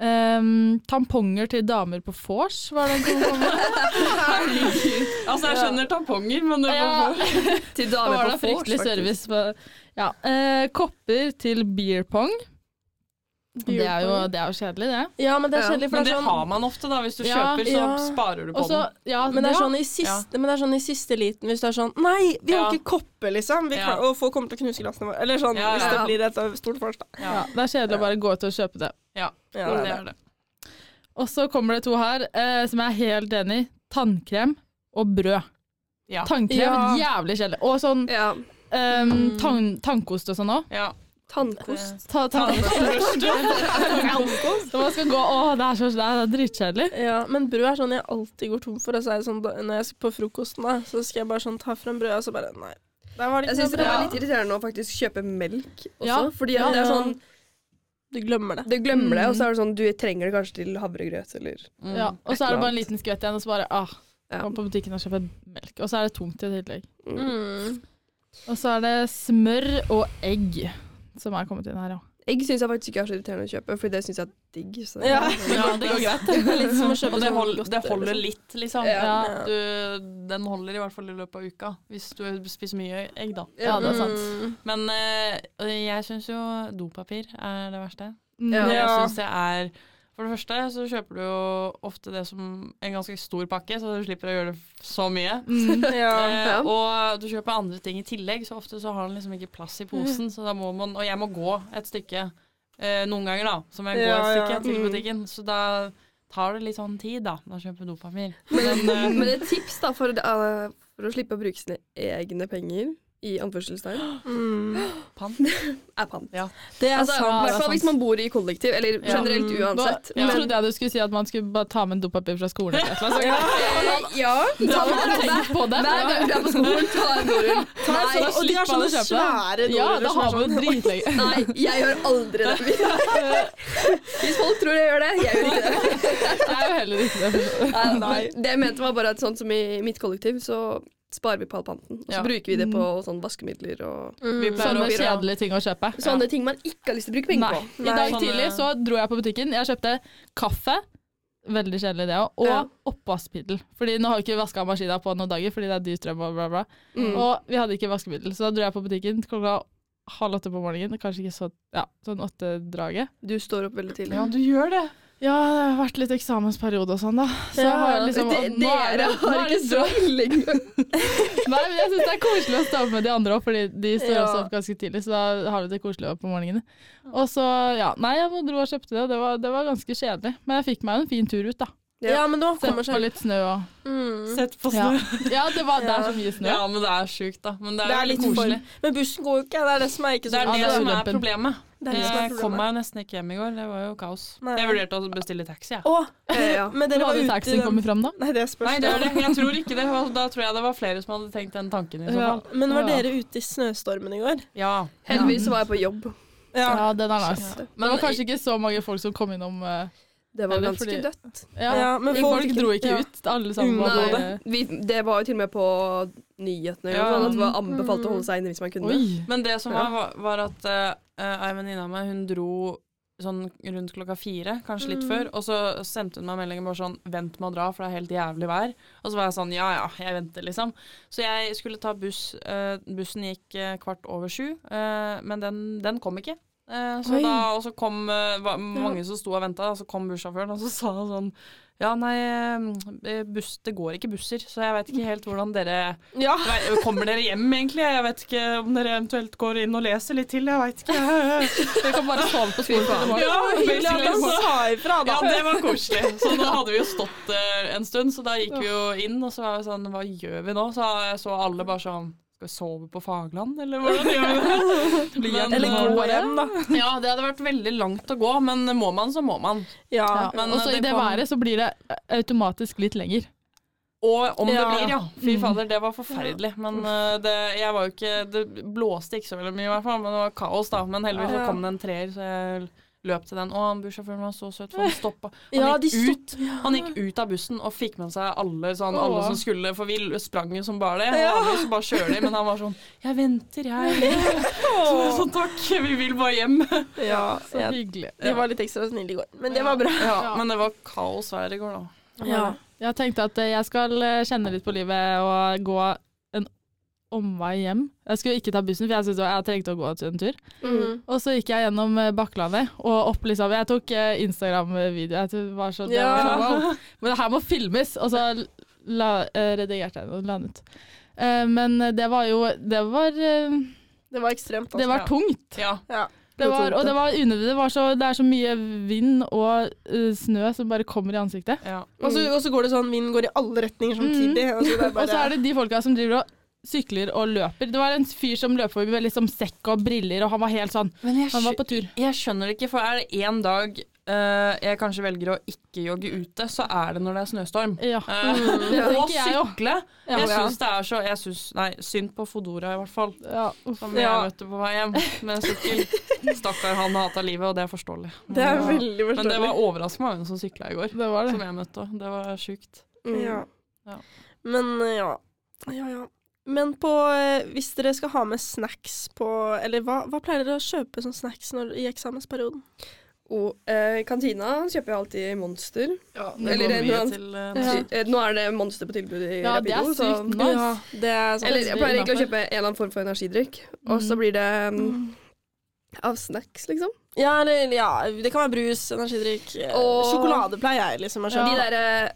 [SPEAKER 4] Ehm, tamponger til damer på vors, var det en som kom med.
[SPEAKER 3] Altså, jeg skjønner tamponger, men det
[SPEAKER 4] Ja.
[SPEAKER 2] Til
[SPEAKER 4] Da
[SPEAKER 2] damer på
[SPEAKER 4] var det
[SPEAKER 2] vors,
[SPEAKER 4] fryktelig
[SPEAKER 2] faktisk.
[SPEAKER 4] service. på- Ja. Eh, kopper til beer pong. Det er jo, det er jo kjedelig, det.
[SPEAKER 1] Ja, men det er
[SPEAKER 2] Ja,
[SPEAKER 1] kjedelig, for
[SPEAKER 3] Men
[SPEAKER 1] det
[SPEAKER 3] det
[SPEAKER 1] er
[SPEAKER 3] har
[SPEAKER 1] sånn
[SPEAKER 3] man ofte, da. Hvis du
[SPEAKER 4] Ja,
[SPEAKER 3] kjøper, så
[SPEAKER 1] ja.
[SPEAKER 3] sparer du på
[SPEAKER 4] Og så- ja,
[SPEAKER 1] men det, er
[SPEAKER 4] ja.
[SPEAKER 1] sånn i siste, men det er sånn i siste liten hvis du er sånn Nei, vi har
[SPEAKER 3] Ja.
[SPEAKER 1] ikke kopper, liksom! Vi
[SPEAKER 3] Ja.
[SPEAKER 1] klarer, og folk kommer til å knuse glassene våre. Eller sånn,
[SPEAKER 3] Ja,
[SPEAKER 1] hvis det
[SPEAKER 2] ja.
[SPEAKER 1] blir et stort vors, da.
[SPEAKER 3] den.
[SPEAKER 4] Ja, det er kjedelig å bare gå ut og kjøpe det.
[SPEAKER 1] Ja, det er
[SPEAKER 3] Ja, det
[SPEAKER 1] det.
[SPEAKER 3] er det.
[SPEAKER 4] Og så kommer det to her eh, som jeg er helt enig i. Tannkrem og brød.
[SPEAKER 3] Ja.
[SPEAKER 4] Tannkrem,
[SPEAKER 1] Ja.
[SPEAKER 4] jævlig kjedelig. Og sånn
[SPEAKER 2] Ja.
[SPEAKER 4] eh, tann, tannkost og sånn òg.
[SPEAKER 3] Ja.
[SPEAKER 2] Tannkost.
[SPEAKER 4] Ta, tannkost.
[SPEAKER 1] Tannkost.
[SPEAKER 4] Så man skal gå Å, det er så det er dritkjedelig.
[SPEAKER 1] Ja, men brød er sånn jeg alltid går tom for. Og så er det sånn, da, når jeg skal på frokosten, da, så skal jeg bare sånn ta frem brødet, og så bare Nei. Der var det
[SPEAKER 2] Jeg
[SPEAKER 1] ikke
[SPEAKER 2] syns
[SPEAKER 1] noe
[SPEAKER 2] det var
[SPEAKER 1] brød.
[SPEAKER 2] litt sånn- irriterende å faktisk kjøpe melk også.
[SPEAKER 4] Ja.
[SPEAKER 2] Fordi
[SPEAKER 1] Ja.
[SPEAKER 2] det er sånn,
[SPEAKER 1] Du glemmer det.
[SPEAKER 2] du glemmer det, og så er det sånn, du trenger det kanskje til havregrøt eller
[SPEAKER 3] Mm.
[SPEAKER 4] Ja, og så er det bare en liten skvett igjen, og så bare ah,
[SPEAKER 2] Ja.
[SPEAKER 4] Kom på butikken og kjøp en melk. Og så er det tungt i tillegg.
[SPEAKER 1] Mm.
[SPEAKER 4] Og så er det smør og egg som er kommet inn her, ja.
[SPEAKER 2] Egg syns jeg faktisk ikke er så irriterende å kjøpe, for det syns jeg er digg. Så.
[SPEAKER 1] Ja.
[SPEAKER 3] Ja, det går greit.
[SPEAKER 1] Det er litt som å kjøpe
[SPEAKER 3] Og det,
[SPEAKER 1] sånn
[SPEAKER 3] hold,
[SPEAKER 1] godteri,
[SPEAKER 3] det holder
[SPEAKER 1] liksom.
[SPEAKER 3] litt, liksom.
[SPEAKER 2] Ja.
[SPEAKER 1] Ja.
[SPEAKER 3] Du, den holder i hvert fall i løpet av uka, hvis du spiser mye egg, da.
[SPEAKER 4] Ja, det er sant.
[SPEAKER 1] Mm.
[SPEAKER 3] Men eh, jeg syns jo dopapir er det verste.
[SPEAKER 4] Mm.
[SPEAKER 2] Ja.
[SPEAKER 3] Det
[SPEAKER 1] Ja.
[SPEAKER 3] synes jeg er For det første så kjøper du jo ofte det som en ganske stor pakke, så du slipper å gjøre det så mye.
[SPEAKER 4] Mm.
[SPEAKER 1] Ja.
[SPEAKER 3] Eh, og du kjøper andre ting i tillegg, så ofte så har den liksom ikke plass i
[SPEAKER 1] Mm.
[SPEAKER 3] posen. Så da må man, og jeg må gå et stykke eh, noen ganger, da. Så må jeg gå
[SPEAKER 1] Ja,
[SPEAKER 3] et stykke
[SPEAKER 1] ja.
[SPEAKER 3] til
[SPEAKER 2] Mm.
[SPEAKER 3] butikken. Så da tar det litt sånn tid, da. Da kjøper jeg dopapir.
[SPEAKER 2] Men,
[SPEAKER 3] eh,
[SPEAKER 2] men et tips da, for, eh, for å slippe å bruke sine egne penger, i anførselstegn,
[SPEAKER 1] Mm.
[SPEAKER 3] Pant.
[SPEAKER 2] er pant.
[SPEAKER 3] Ja.
[SPEAKER 1] Det er
[SPEAKER 2] Altså, i
[SPEAKER 1] sant.
[SPEAKER 2] hvert fall hvis man bor i kollektiv, eller
[SPEAKER 3] Ja.
[SPEAKER 2] generelt uansett.
[SPEAKER 4] Nå
[SPEAKER 3] Ja.
[SPEAKER 4] trodde jeg du skulle si at man skulle bare ta med en dopapir fra skolen. Eller et eller annet.
[SPEAKER 2] Eh, ja.
[SPEAKER 4] Så kan man tenke på det.
[SPEAKER 2] Hver gang du er på skolen, ta en dorull.
[SPEAKER 4] Nei,
[SPEAKER 1] og de har
[SPEAKER 4] slipper man
[SPEAKER 1] sånne
[SPEAKER 4] å kjøpe det.
[SPEAKER 1] svære
[SPEAKER 4] Ja,
[SPEAKER 1] doruller
[SPEAKER 4] da
[SPEAKER 1] som er
[SPEAKER 4] har man jo dritlenge.
[SPEAKER 2] Nei, jeg gjør aldri det. Hvis folk tror jeg gjør det, jeg gjør ikke det.
[SPEAKER 4] Det er jo heller ikke det.
[SPEAKER 2] Nei. Det jeg mente var bare at sånn som i mitt kollektiv, så sparer vi på all panten. Og så
[SPEAKER 3] Ja.
[SPEAKER 2] bruker vi det på
[SPEAKER 4] Mm.
[SPEAKER 2] sånn vaskemidler og
[SPEAKER 3] Vi pleier
[SPEAKER 1] Sånn
[SPEAKER 4] Sånne
[SPEAKER 3] å-
[SPEAKER 4] kjedelige ting å kjøpe.
[SPEAKER 2] sånne ting man ikke har lyst til å bruke penger
[SPEAKER 4] Nei.
[SPEAKER 2] på.
[SPEAKER 4] I dag
[SPEAKER 3] Sånne-
[SPEAKER 4] tidlig så dro jeg på butikken. Jeg kjøpte kaffe. Veldig kjedelig det òg.
[SPEAKER 2] Ja.
[SPEAKER 4] Og oppvaskmiddel. Fordi nå har vi ikke vaska maskina på noen dager fordi det er dyr strøm og bla, bla.
[SPEAKER 2] Mm.
[SPEAKER 4] Og vi hadde ikke vaskemiddel, så da dro jeg på butikken klokka halv åtte på morgenen. Kanskje ikke så ja, sånn åtte-draget.
[SPEAKER 2] Du står opp veldig tidlig.
[SPEAKER 3] Ja, du gjør det.
[SPEAKER 4] Ja, det har vært litt eksamensperiode og sånn, da. Så
[SPEAKER 1] Ja,
[SPEAKER 4] har jeg liksom
[SPEAKER 2] De-
[SPEAKER 4] nå er
[SPEAKER 2] Dere
[SPEAKER 4] det- nå
[SPEAKER 2] har
[SPEAKER 4] er det
[SPEAKER 1] liksom-
[SPEAKER 2] ikke så ille engang.
[SPEAKER 4] Nei, men jeg syns det er koselig å stå opp med de andre òg, fordi de står
[SPEAKER 1] Ja.
[SPEAKER 4] også opp ganske tidlig, så da har du det koselig opp på morgenen. Og så, ja. Nei, jeg dro og kjøpte det, og det var, det var ganske kjedelig. Men jeg fikk meg jo en fin tur ut, da.
[SPEAKER 1] Ja, men nå
[SPEAKER 4] Sett
[SPEAKER 1] kommer
[SPEAKER 4] på
[SPEAKER 1] seg
[SPEAKER 4] litt snø og
[SPEAKER 1] mm.
[SPEAKER 3] Sett på
[SPEAKER 4] Ja,
[SPEAKER 3] snø.
[SPEAKER 4] ja det, var, det er
[SPEAKER 1] Ja.
[SPEAKER 4] så mye snø.
[SPEAKER 3] Ja, men det er sjukt, da. Men det er,
[SPEAKER 1] Det er
[SPEAKER 3] litt
[SPEAKER 1] litt
[SPEAKER 3] koselig.
[SPEAKER 1] for Men bussen går jo ikke. Det er det som er ikke
[SPEAKER 3] Det
[SPEAKER 1] så
[SPEAKER 3] er det,
[SPEAKER 4] Ja, det er
[SPEAKER 3] som er
[SPEAKER 4] ulempen.
[SPEAKER 3] problemet.
[SPEAKER 1] Det er det som er
[SPEAKER 3] jeg kom
[SPEAKER 1] problemet.
[SPEAKER 3] meg nesten ikke hjem i går. Det var jo kaos.
[SPEAKER 1] Nei.
[SPEAKER 3] Jeg vurderte å bestille taxi, jeg.
[SPEAKER 1] Å,
[SPEAKER 2] Eh, ja.
[SPEAKER 1] men
[SPEAKER 4] Hvor
[SPEAKER 1] dere var
[SPEAKER 4] hadde
[SPEAKER 1] ute i
[SPEAKER 4] taxien
[SPEAKER 1] den
[SPEAKER 4] kommet fram, da?
[SPEAKER 1] Nei, det spørs.
[SPEAKER 3] Nei, det var det. Jeg tror ikke det. Da tror jeg det var flere som hadde tenkt den tanken i så
[SPEAKER 4] Ja.
[SPEAKER 3] fall.
[SPEAKER 1] Men var
[SPEAKER 4] Ja.
[SPEAKER 1] dere ute i snøstormen i går?
[SPEAKER 3] Ja.
[SPEAKER 2] Heldigvis så var jeg på jobb.
[SPEAKER 4] Ja, den er nice.
[SPEAKER 2] Shit.
[SPEAKER 4] Men det var kanskje ikke så mange folk som kom innom eh,
[SPEAKER 2] Det var
[SPEAKER 4] Eller
[SPEAKER 2] ganske
[SPEAKER 4] fordi-
[SPEAKER 2] dødt.
[SPEAKER 4] Ja,
[SPEAKER 1] Ja, men
[SPEAKER 4] men
[SPEAKER 1] folk-
[SPEAKER 4] folk, dro ikke
[SPEAKER 1] ja.
[SPEAKER 4] ut. Alle sammen var
[SPEAKER 2] Nei,
[SPEAKER 4] bare
[SPEAKER 2] vi, det var jo til og med på nyhetene eller noe
[SPEAKER 3] Ja.
[SPEAKER 2] sånt, at det var anbefalt å holde seg inne hvis man kunne.
[SPEAKER 4] Oi!
[SPEAKER 3] Men det som var, var, var at eh, eh, ei venninne av meg, hun dro sånn rundt klokka fire, kanskje litt før, og så sendte hun meg meldingen bare sånn 'Vent med å dra, for det er helt jævlig vær'. Og så var jeg sånn 'Ja ja, jeg venter', liksom. Så jeg skulle ta buss. eh, bussen gikk eh, kvart over sju, eh, men den, den kom ikke. Eh, så
[SPEAKER 1] Oi.
[SPEAKER 3] da, og så kom eh, var mange som sto og venta, og så kom bussjåføren, og så sa han sånn Ja, nei, eh, buss, det går ikke busser, så jeg veit ikke helt hvordan dere
[SPEAKER 1] Ja.
[SPEAKER 3] Nei, Kommer dere hjem, egentlig? Jeg vet ikke om dere eventuelt går inn og leser litt til. Jeg veit ikke.
[SPEAKER 4] Dere kan bare sove på skolen til i morgen.
[SPEAKER 3] Ja,
[SPEAKER 1] Hyggelig at han
[SPEAKER 3] basically.
[SPEAKER 1] sa ifra,
[SPEAKER 3] Ja,
[SPEAKER 1] da.
[SPEAKER 3] det var koselig. Så nå hadde vi jo stått eh, en stund, så da gikk vi jo inn, og så var vi sånn Hva gjør vi nå? Så jeg så alle bare sånn Skal vi sove på Fagland, eller hvordan gjør vi det? Men,
[SPEAKER 1] Eller
[SPEAKER 3] eh,
[SPEAKER 1] gå hjem, da.
[SPEAKER 3] Ja, det hadde vært veldig langt å gå, men må man, så må man.
[SPEAKER 1] Ja.
[SPEAKER 4] Ja,
[SPEAKER 3] men,
[SPEAKER 4] og så
[SPEAKER 3] det
[SPEAKER 4] i det
[SPEAKER 3] kom-
[SPEAKER 4] været så blir det automatisk litt lenger.
[SPEAKER 3] Og om
[SPEAKER 1] Ja.
[SPEAKER 3] det blir, ja. Fy
[SPEAKER 4] Mm.
[SPEAKER 3] fader, det var forferdelig. Men eh, det, jeg var jo ikke Det blåste ikke så veldig mye, i hvert fall. Men det var kaos, da. Men heldigvis
[SPEAKER 1] Ja.
[SPEAKER 3] så kom det en treer, så jeg løp til den. Å, han bussjåføren var så søt, for han stoppa. Han,
[SPEAKER 1] Ja, de
[SPEAKER 3] gikk ut, han gikk ut av bussen og fikk med seg alle, sånn, alle
[SPEAKER 4] Åh.
[SPEAKER 3] som skulle, for vi sprang jo som bare det.
[SPEAKER 1] Ja.
[SPEAKER 3] Og alle så bare kjører de, men han var sånn Jeg venter, jeg. Så, sånn takk, vi vil bare hjem.
[SPEAKER 1] ja.
[SPEAKER 4] Så
[SPEAKER 1] ja.
[SPEAKER 4] hyggelig.
[SPEAKER 1] De var litt ekstra snille i går, men det var bra.
[SPEAKER 3] Ja, men det var kaos her i går, da.
[SPEAKER 1] Ja.
[SPEAKER 4] Jeg tenkte at eh, jeg skal eh, kjenne litt på livet og gå en omvei hjem. Jeg skulle ikke ta bussen, for jeg, syntes det var- jeg trengte å gå en tur.
[SPEAKER 1] Mm.
[SPEAKER 4] Og så gikk jeg gjennom eh, Bakklandet og opp, liksom. Jeg tok eh, Instagram-video. Jeg tror det var sånn, det var
[SPEAKER 1] Ja.
[SPEAKER 4] sånn wow. Men det her må filmes! Og så la, eh, redigerte jeg det og la den ut. Eh, Men det var jo Det var, eh,
[SPEAKER 1] Det var ekstremt.
[SPEAKER 4] det var tungt.
[SPEAKER 3] Ja.
[SPEAKER 1] Ja.
[SPEAKER 4] Det var, og det var unødvendig. Det, var så, det er så mye vind og eh, snø som bare kommer i ansiktet.
[SPEAKER 3] ja.
[SPEAKER 1] Og så, og så går det sånn, vinden går i alle retninger samtidig. Mm. Og så, det er bare,
[SPEAKER 4] Og så er det de folka som driver og sykler og løper. Det var en fyr som løp forbi med liksom sekk og briller, og han var helt sånn
[SPEAKER 3] Men jeg,
[SPEAKER 4] Han var på tur.
[SPEAKER 3] skj- jeg skjønner det ikke, for er det én dag eh, jeg kanskje velger å ikke jogge ute, så er det når det er snøstorm.
[SPEAKER 4] Mm. Ja.
[SPEAKER 3] Eh,
[SPEAKER 4] Det
[SPEAKER 3] og
[SPEAKER 4] tenker jeg jo.
[SPEAKER 3] sykle!
[SPEAKER 4] Ja.
[SPEAKER 3] jeg syns det er så jeg synes, Nei, synd på Fodora, i hvert fall.
[SPEAKER 4] Ja, uff.
[SPEAKER 3] Som
[SPEAKER 1] Ja.
[SPEAKER 3] jeg møtte på vei hjem med sykkel. Stakkar, han hata livet, og det er forståelig.
[SPEAKER 1] det er veldig forståelig.
[SPEAKER 3] Men det var overraskende mange som sykla i går,
[SPEAKER 4] Det var det.
[SPEAKER 3] som jeg møtte. Det var sjukt.
[SPEAKER 2] Mm.
[SPEAKER 1] Ja.
[SPEAKER 3] Ja.
[SPEAKER 1] Men eh, ja. ja, ja. Men på, eh, hvis dere skal ha med snacks på Eller hva, hva pleier dere å kjøpe som snacks når, i eksamensperioden?
[SPEAKER 2] Og eh, kantina kjøper jeg alltid Monster.
[SPEAKER 3] Det
[SPEAKER 2] Eller
[SPEAKER 3] går
[SPEAKER 2] en eller
[SPEAKER 3] mye
[SPEAKER 2] annen-
[SPEAKER 3] til, eh,
[SPEAKER 4] Ja.
[SPEAKER 2] Eh, Nå er det Monster på tilbud i
[SPEAKER 4] Ja, det er
[SPEAKER 2] Rapido. så-
[SPEAKER 4] sykt nice.
[SPEAKER 1] Ja, det er sånn.
[SPEAKER 2] Eller jeg pleier egentlig å
[SPEAKER 4] Innenfor.
[SPEAKER 2] kjøpe en eller annen form for energidrikk. Og så
[SPEAKER 4] Mm.
[SPEAKER 2] blir det mm,
[SPEAKER 1] Mm.
[SPEAKER 2] av snacks, liksom.
[SPEAKER 1] ja, eller ja, det kan være brus, energidrikk eh,
[SPEAKER 2] Og-
[SPEAKER 1] Sjokolade pleier jeg liksom å
[SPEAKER 4] Ja.
[SPEAKER 1] kjøpe.
[SPEAKER 2] De derre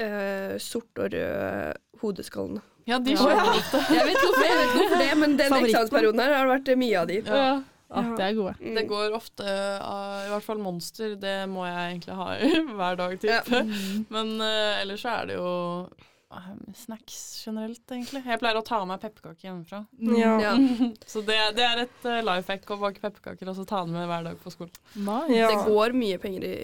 [SPEAKER 2] eh, sort og røde hodeskallene.
[SPEAKER 3] Ja, de
[SPEAKER 2] Ja.
[SPEAKER 3] skjønner det.
[SPEAKER 2] Jeg vet ikke hvorfor, jeg vet ikke hvorfor det, men den
[SPEAKER 1] Favoritten.
[SPEAKER 2] eksamensperioden her har det vært mye av de.
[SPEAKER 3] Ja.
[SPEAKER 4] Ja. Ja,
[SPEAKER 1] Ja.
[SPEAKER 4] det er gode.
[SPEAKER 2] Mm.
[SPEAKER 3] Det går ofte av I hvert fall Monster, det må jeg egentlig ha i hver dag,
[SPEAKER 2] Ja.
[SPEAKER 3] type.
[SPEAKER 1] Mm.
[SPEAKER 3] Men eh, ellers så er det jo eh, snacks generelt, egentlig. Jeg pleier å ta med pepperkaker hjemmefra.
[SPEAKER 4] Mm.
[SPEAKER 1] Ja.
[SPEAKER 2] Ja.
[SPEAKER 3] Så det, det er et uh, life hack å bake pepperkaker og så ta den med hver dag på skolen.
[SPEAKER 4] Nice.
[SPEAKER 1] Ja.
[SPEAKER 2] Det går mye penger i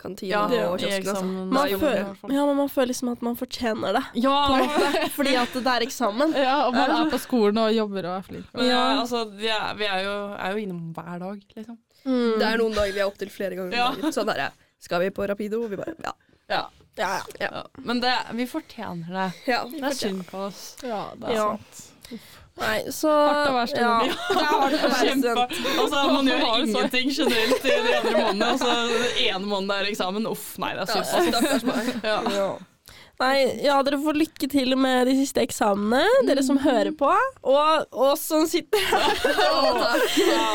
[SPEAKER 2] kantina og
[SPEAKER 3] i
[SPEAKER 2] kiosken, altså.
[SPEAKER 3] eksamen.
[SPEAKER 1] Man
[SPEAKER 3] Da gjorde jeg i
[SPEAKER 1] føler,
[SPEAKER 3] hvert fall.
[SPEAKER 1] ja, men man føler liksom at man fortjener det.
[SPEAKER 3] Ja,
[SPEAKER 1] Fordi at det er eksamen.
[SPEAKER 4] Ja, og man er på skolen og jobber og er flink.
[SPEAKER 3] men ja,
[SPEAKER 1] Ja.
[SPEAKER 3] altså, vi er, vi er jo, er jo innom hver dag, liksom.
[SPEAKER 1] Mm.
[SPEAKER 2] Det er noen dager vi er opptil flere ganger om
[SPEAKER 3] Ja.
[SPEAKER 2] dagen. Sånn er det. Skal vi på Rapido? Vi bare ja.
[SPEAKER 3] Ja.
[SPEAKER 1] ja, ja.
[SPEAKER 3] ja. Men det, vi fortjener det.
[SPEAKER 2] ja.
[SPEAKER 3] Det er synd på oss.
[SPEAKER 4] Ja, det er
[SPEAKER 1] Ja.
[SPEAKER 4] sant.
[SPEAKER 1] Nei, så
[SPEAKER 4] Hardt å være
[SPEAKER 1] ja.
[SPEAKER 4] student.
[SPEAKER 1] Det er hardt å være
[SPEAKER 3] Kjempe.
[SPEAKER 1] student.
[SPEAKER 3] Altså, man gjør ingenting generelt i de andre månedene, og så
[SPEAKER 1] øh,
[SPEAKER 3] den ene måneden er eksamen. Uff, nei, det
[SPEAKER 2] Ja,
[SPEAKER 3] er synd på oss.
[SPEAKER 2] Stakkars meg.
[SPEAKER 3] Ja.
[SPEAKER 1] Ja. Nei, ja, dere får lykke til med de siste eksamene, dere som hører på, og oss som sitter
[SPEAKER 3] Ja.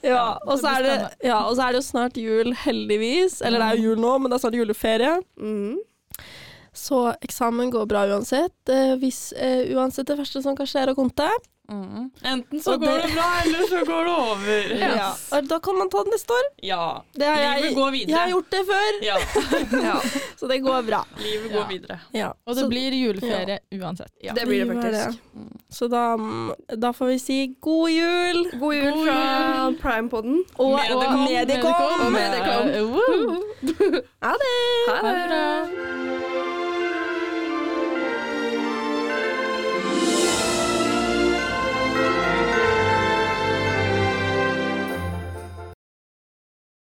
[SPEAKER 1] ja, og, så er det,
[SPEAKER 4] spennende.
[SPEAKER 1] ja, og så er det jo snart jul, heldigvis. Eller det er jo jul nå, men det er snart juleferie.
[SPEAKER 2] Mm.
[SPEAKER 1] Så eksamen går bra uansett. Eh, hvis eh, uansett det verste som kan skje, er å konte.
[SPEAKER 3] Enten så
[SPEAKER 1] Og
[SPEAKER 3] går
[SPEAKER 1] det-
[SPEAKER 3] det bra, eller så går det over.
[SPEAKER 1] Ja. Og Da kan man ta det neste år.
[SPEAKER 3] Ja.
[SPEAKER 1] Det har jeg,
[SPEAKER 3] Livet går videre.
[SPEAKER 1] jeg har gjort det før,
[SPEAKER 3] Ja,
[SPEAKER 2] Ja.
[SPEAKER 1] så det går bra.
[SPEAKER 3] livet
[SPEAKER 4] Ja.
[SPEAKER 3] går videre.
[SPEAKER 1] Ja.
[SPEAKER 4] Og det
[SPEAKER 1] så,
[SPEAKER 4] blir juleferie uansett.
[SPEAKER 3] Ja.
[SPEAKER 2] Det blir det
[SPEAKER 1] Det gjør
[SPEAKER 2] faktisk.
[SPEAKER 1] så da, mm, da får vi si god jul
[SPEAKER 2] God jul fra Prime-podden.
[SPEAKER 1] og,
[SPEAKER 3] Medikom.
[SPEAKER 1] og
[SPEAKER 4] Medikom.
[SPEAKER 1] Medikom.
[SPEAKER 2] Medikom.
[SPEAKER 1] Ah
[SPEAKER 4] Ja, woo.
[SPEAKER 1] Ha det!
[SPEAKER 2] Ha
[SPEAKER 4] Ha det bra.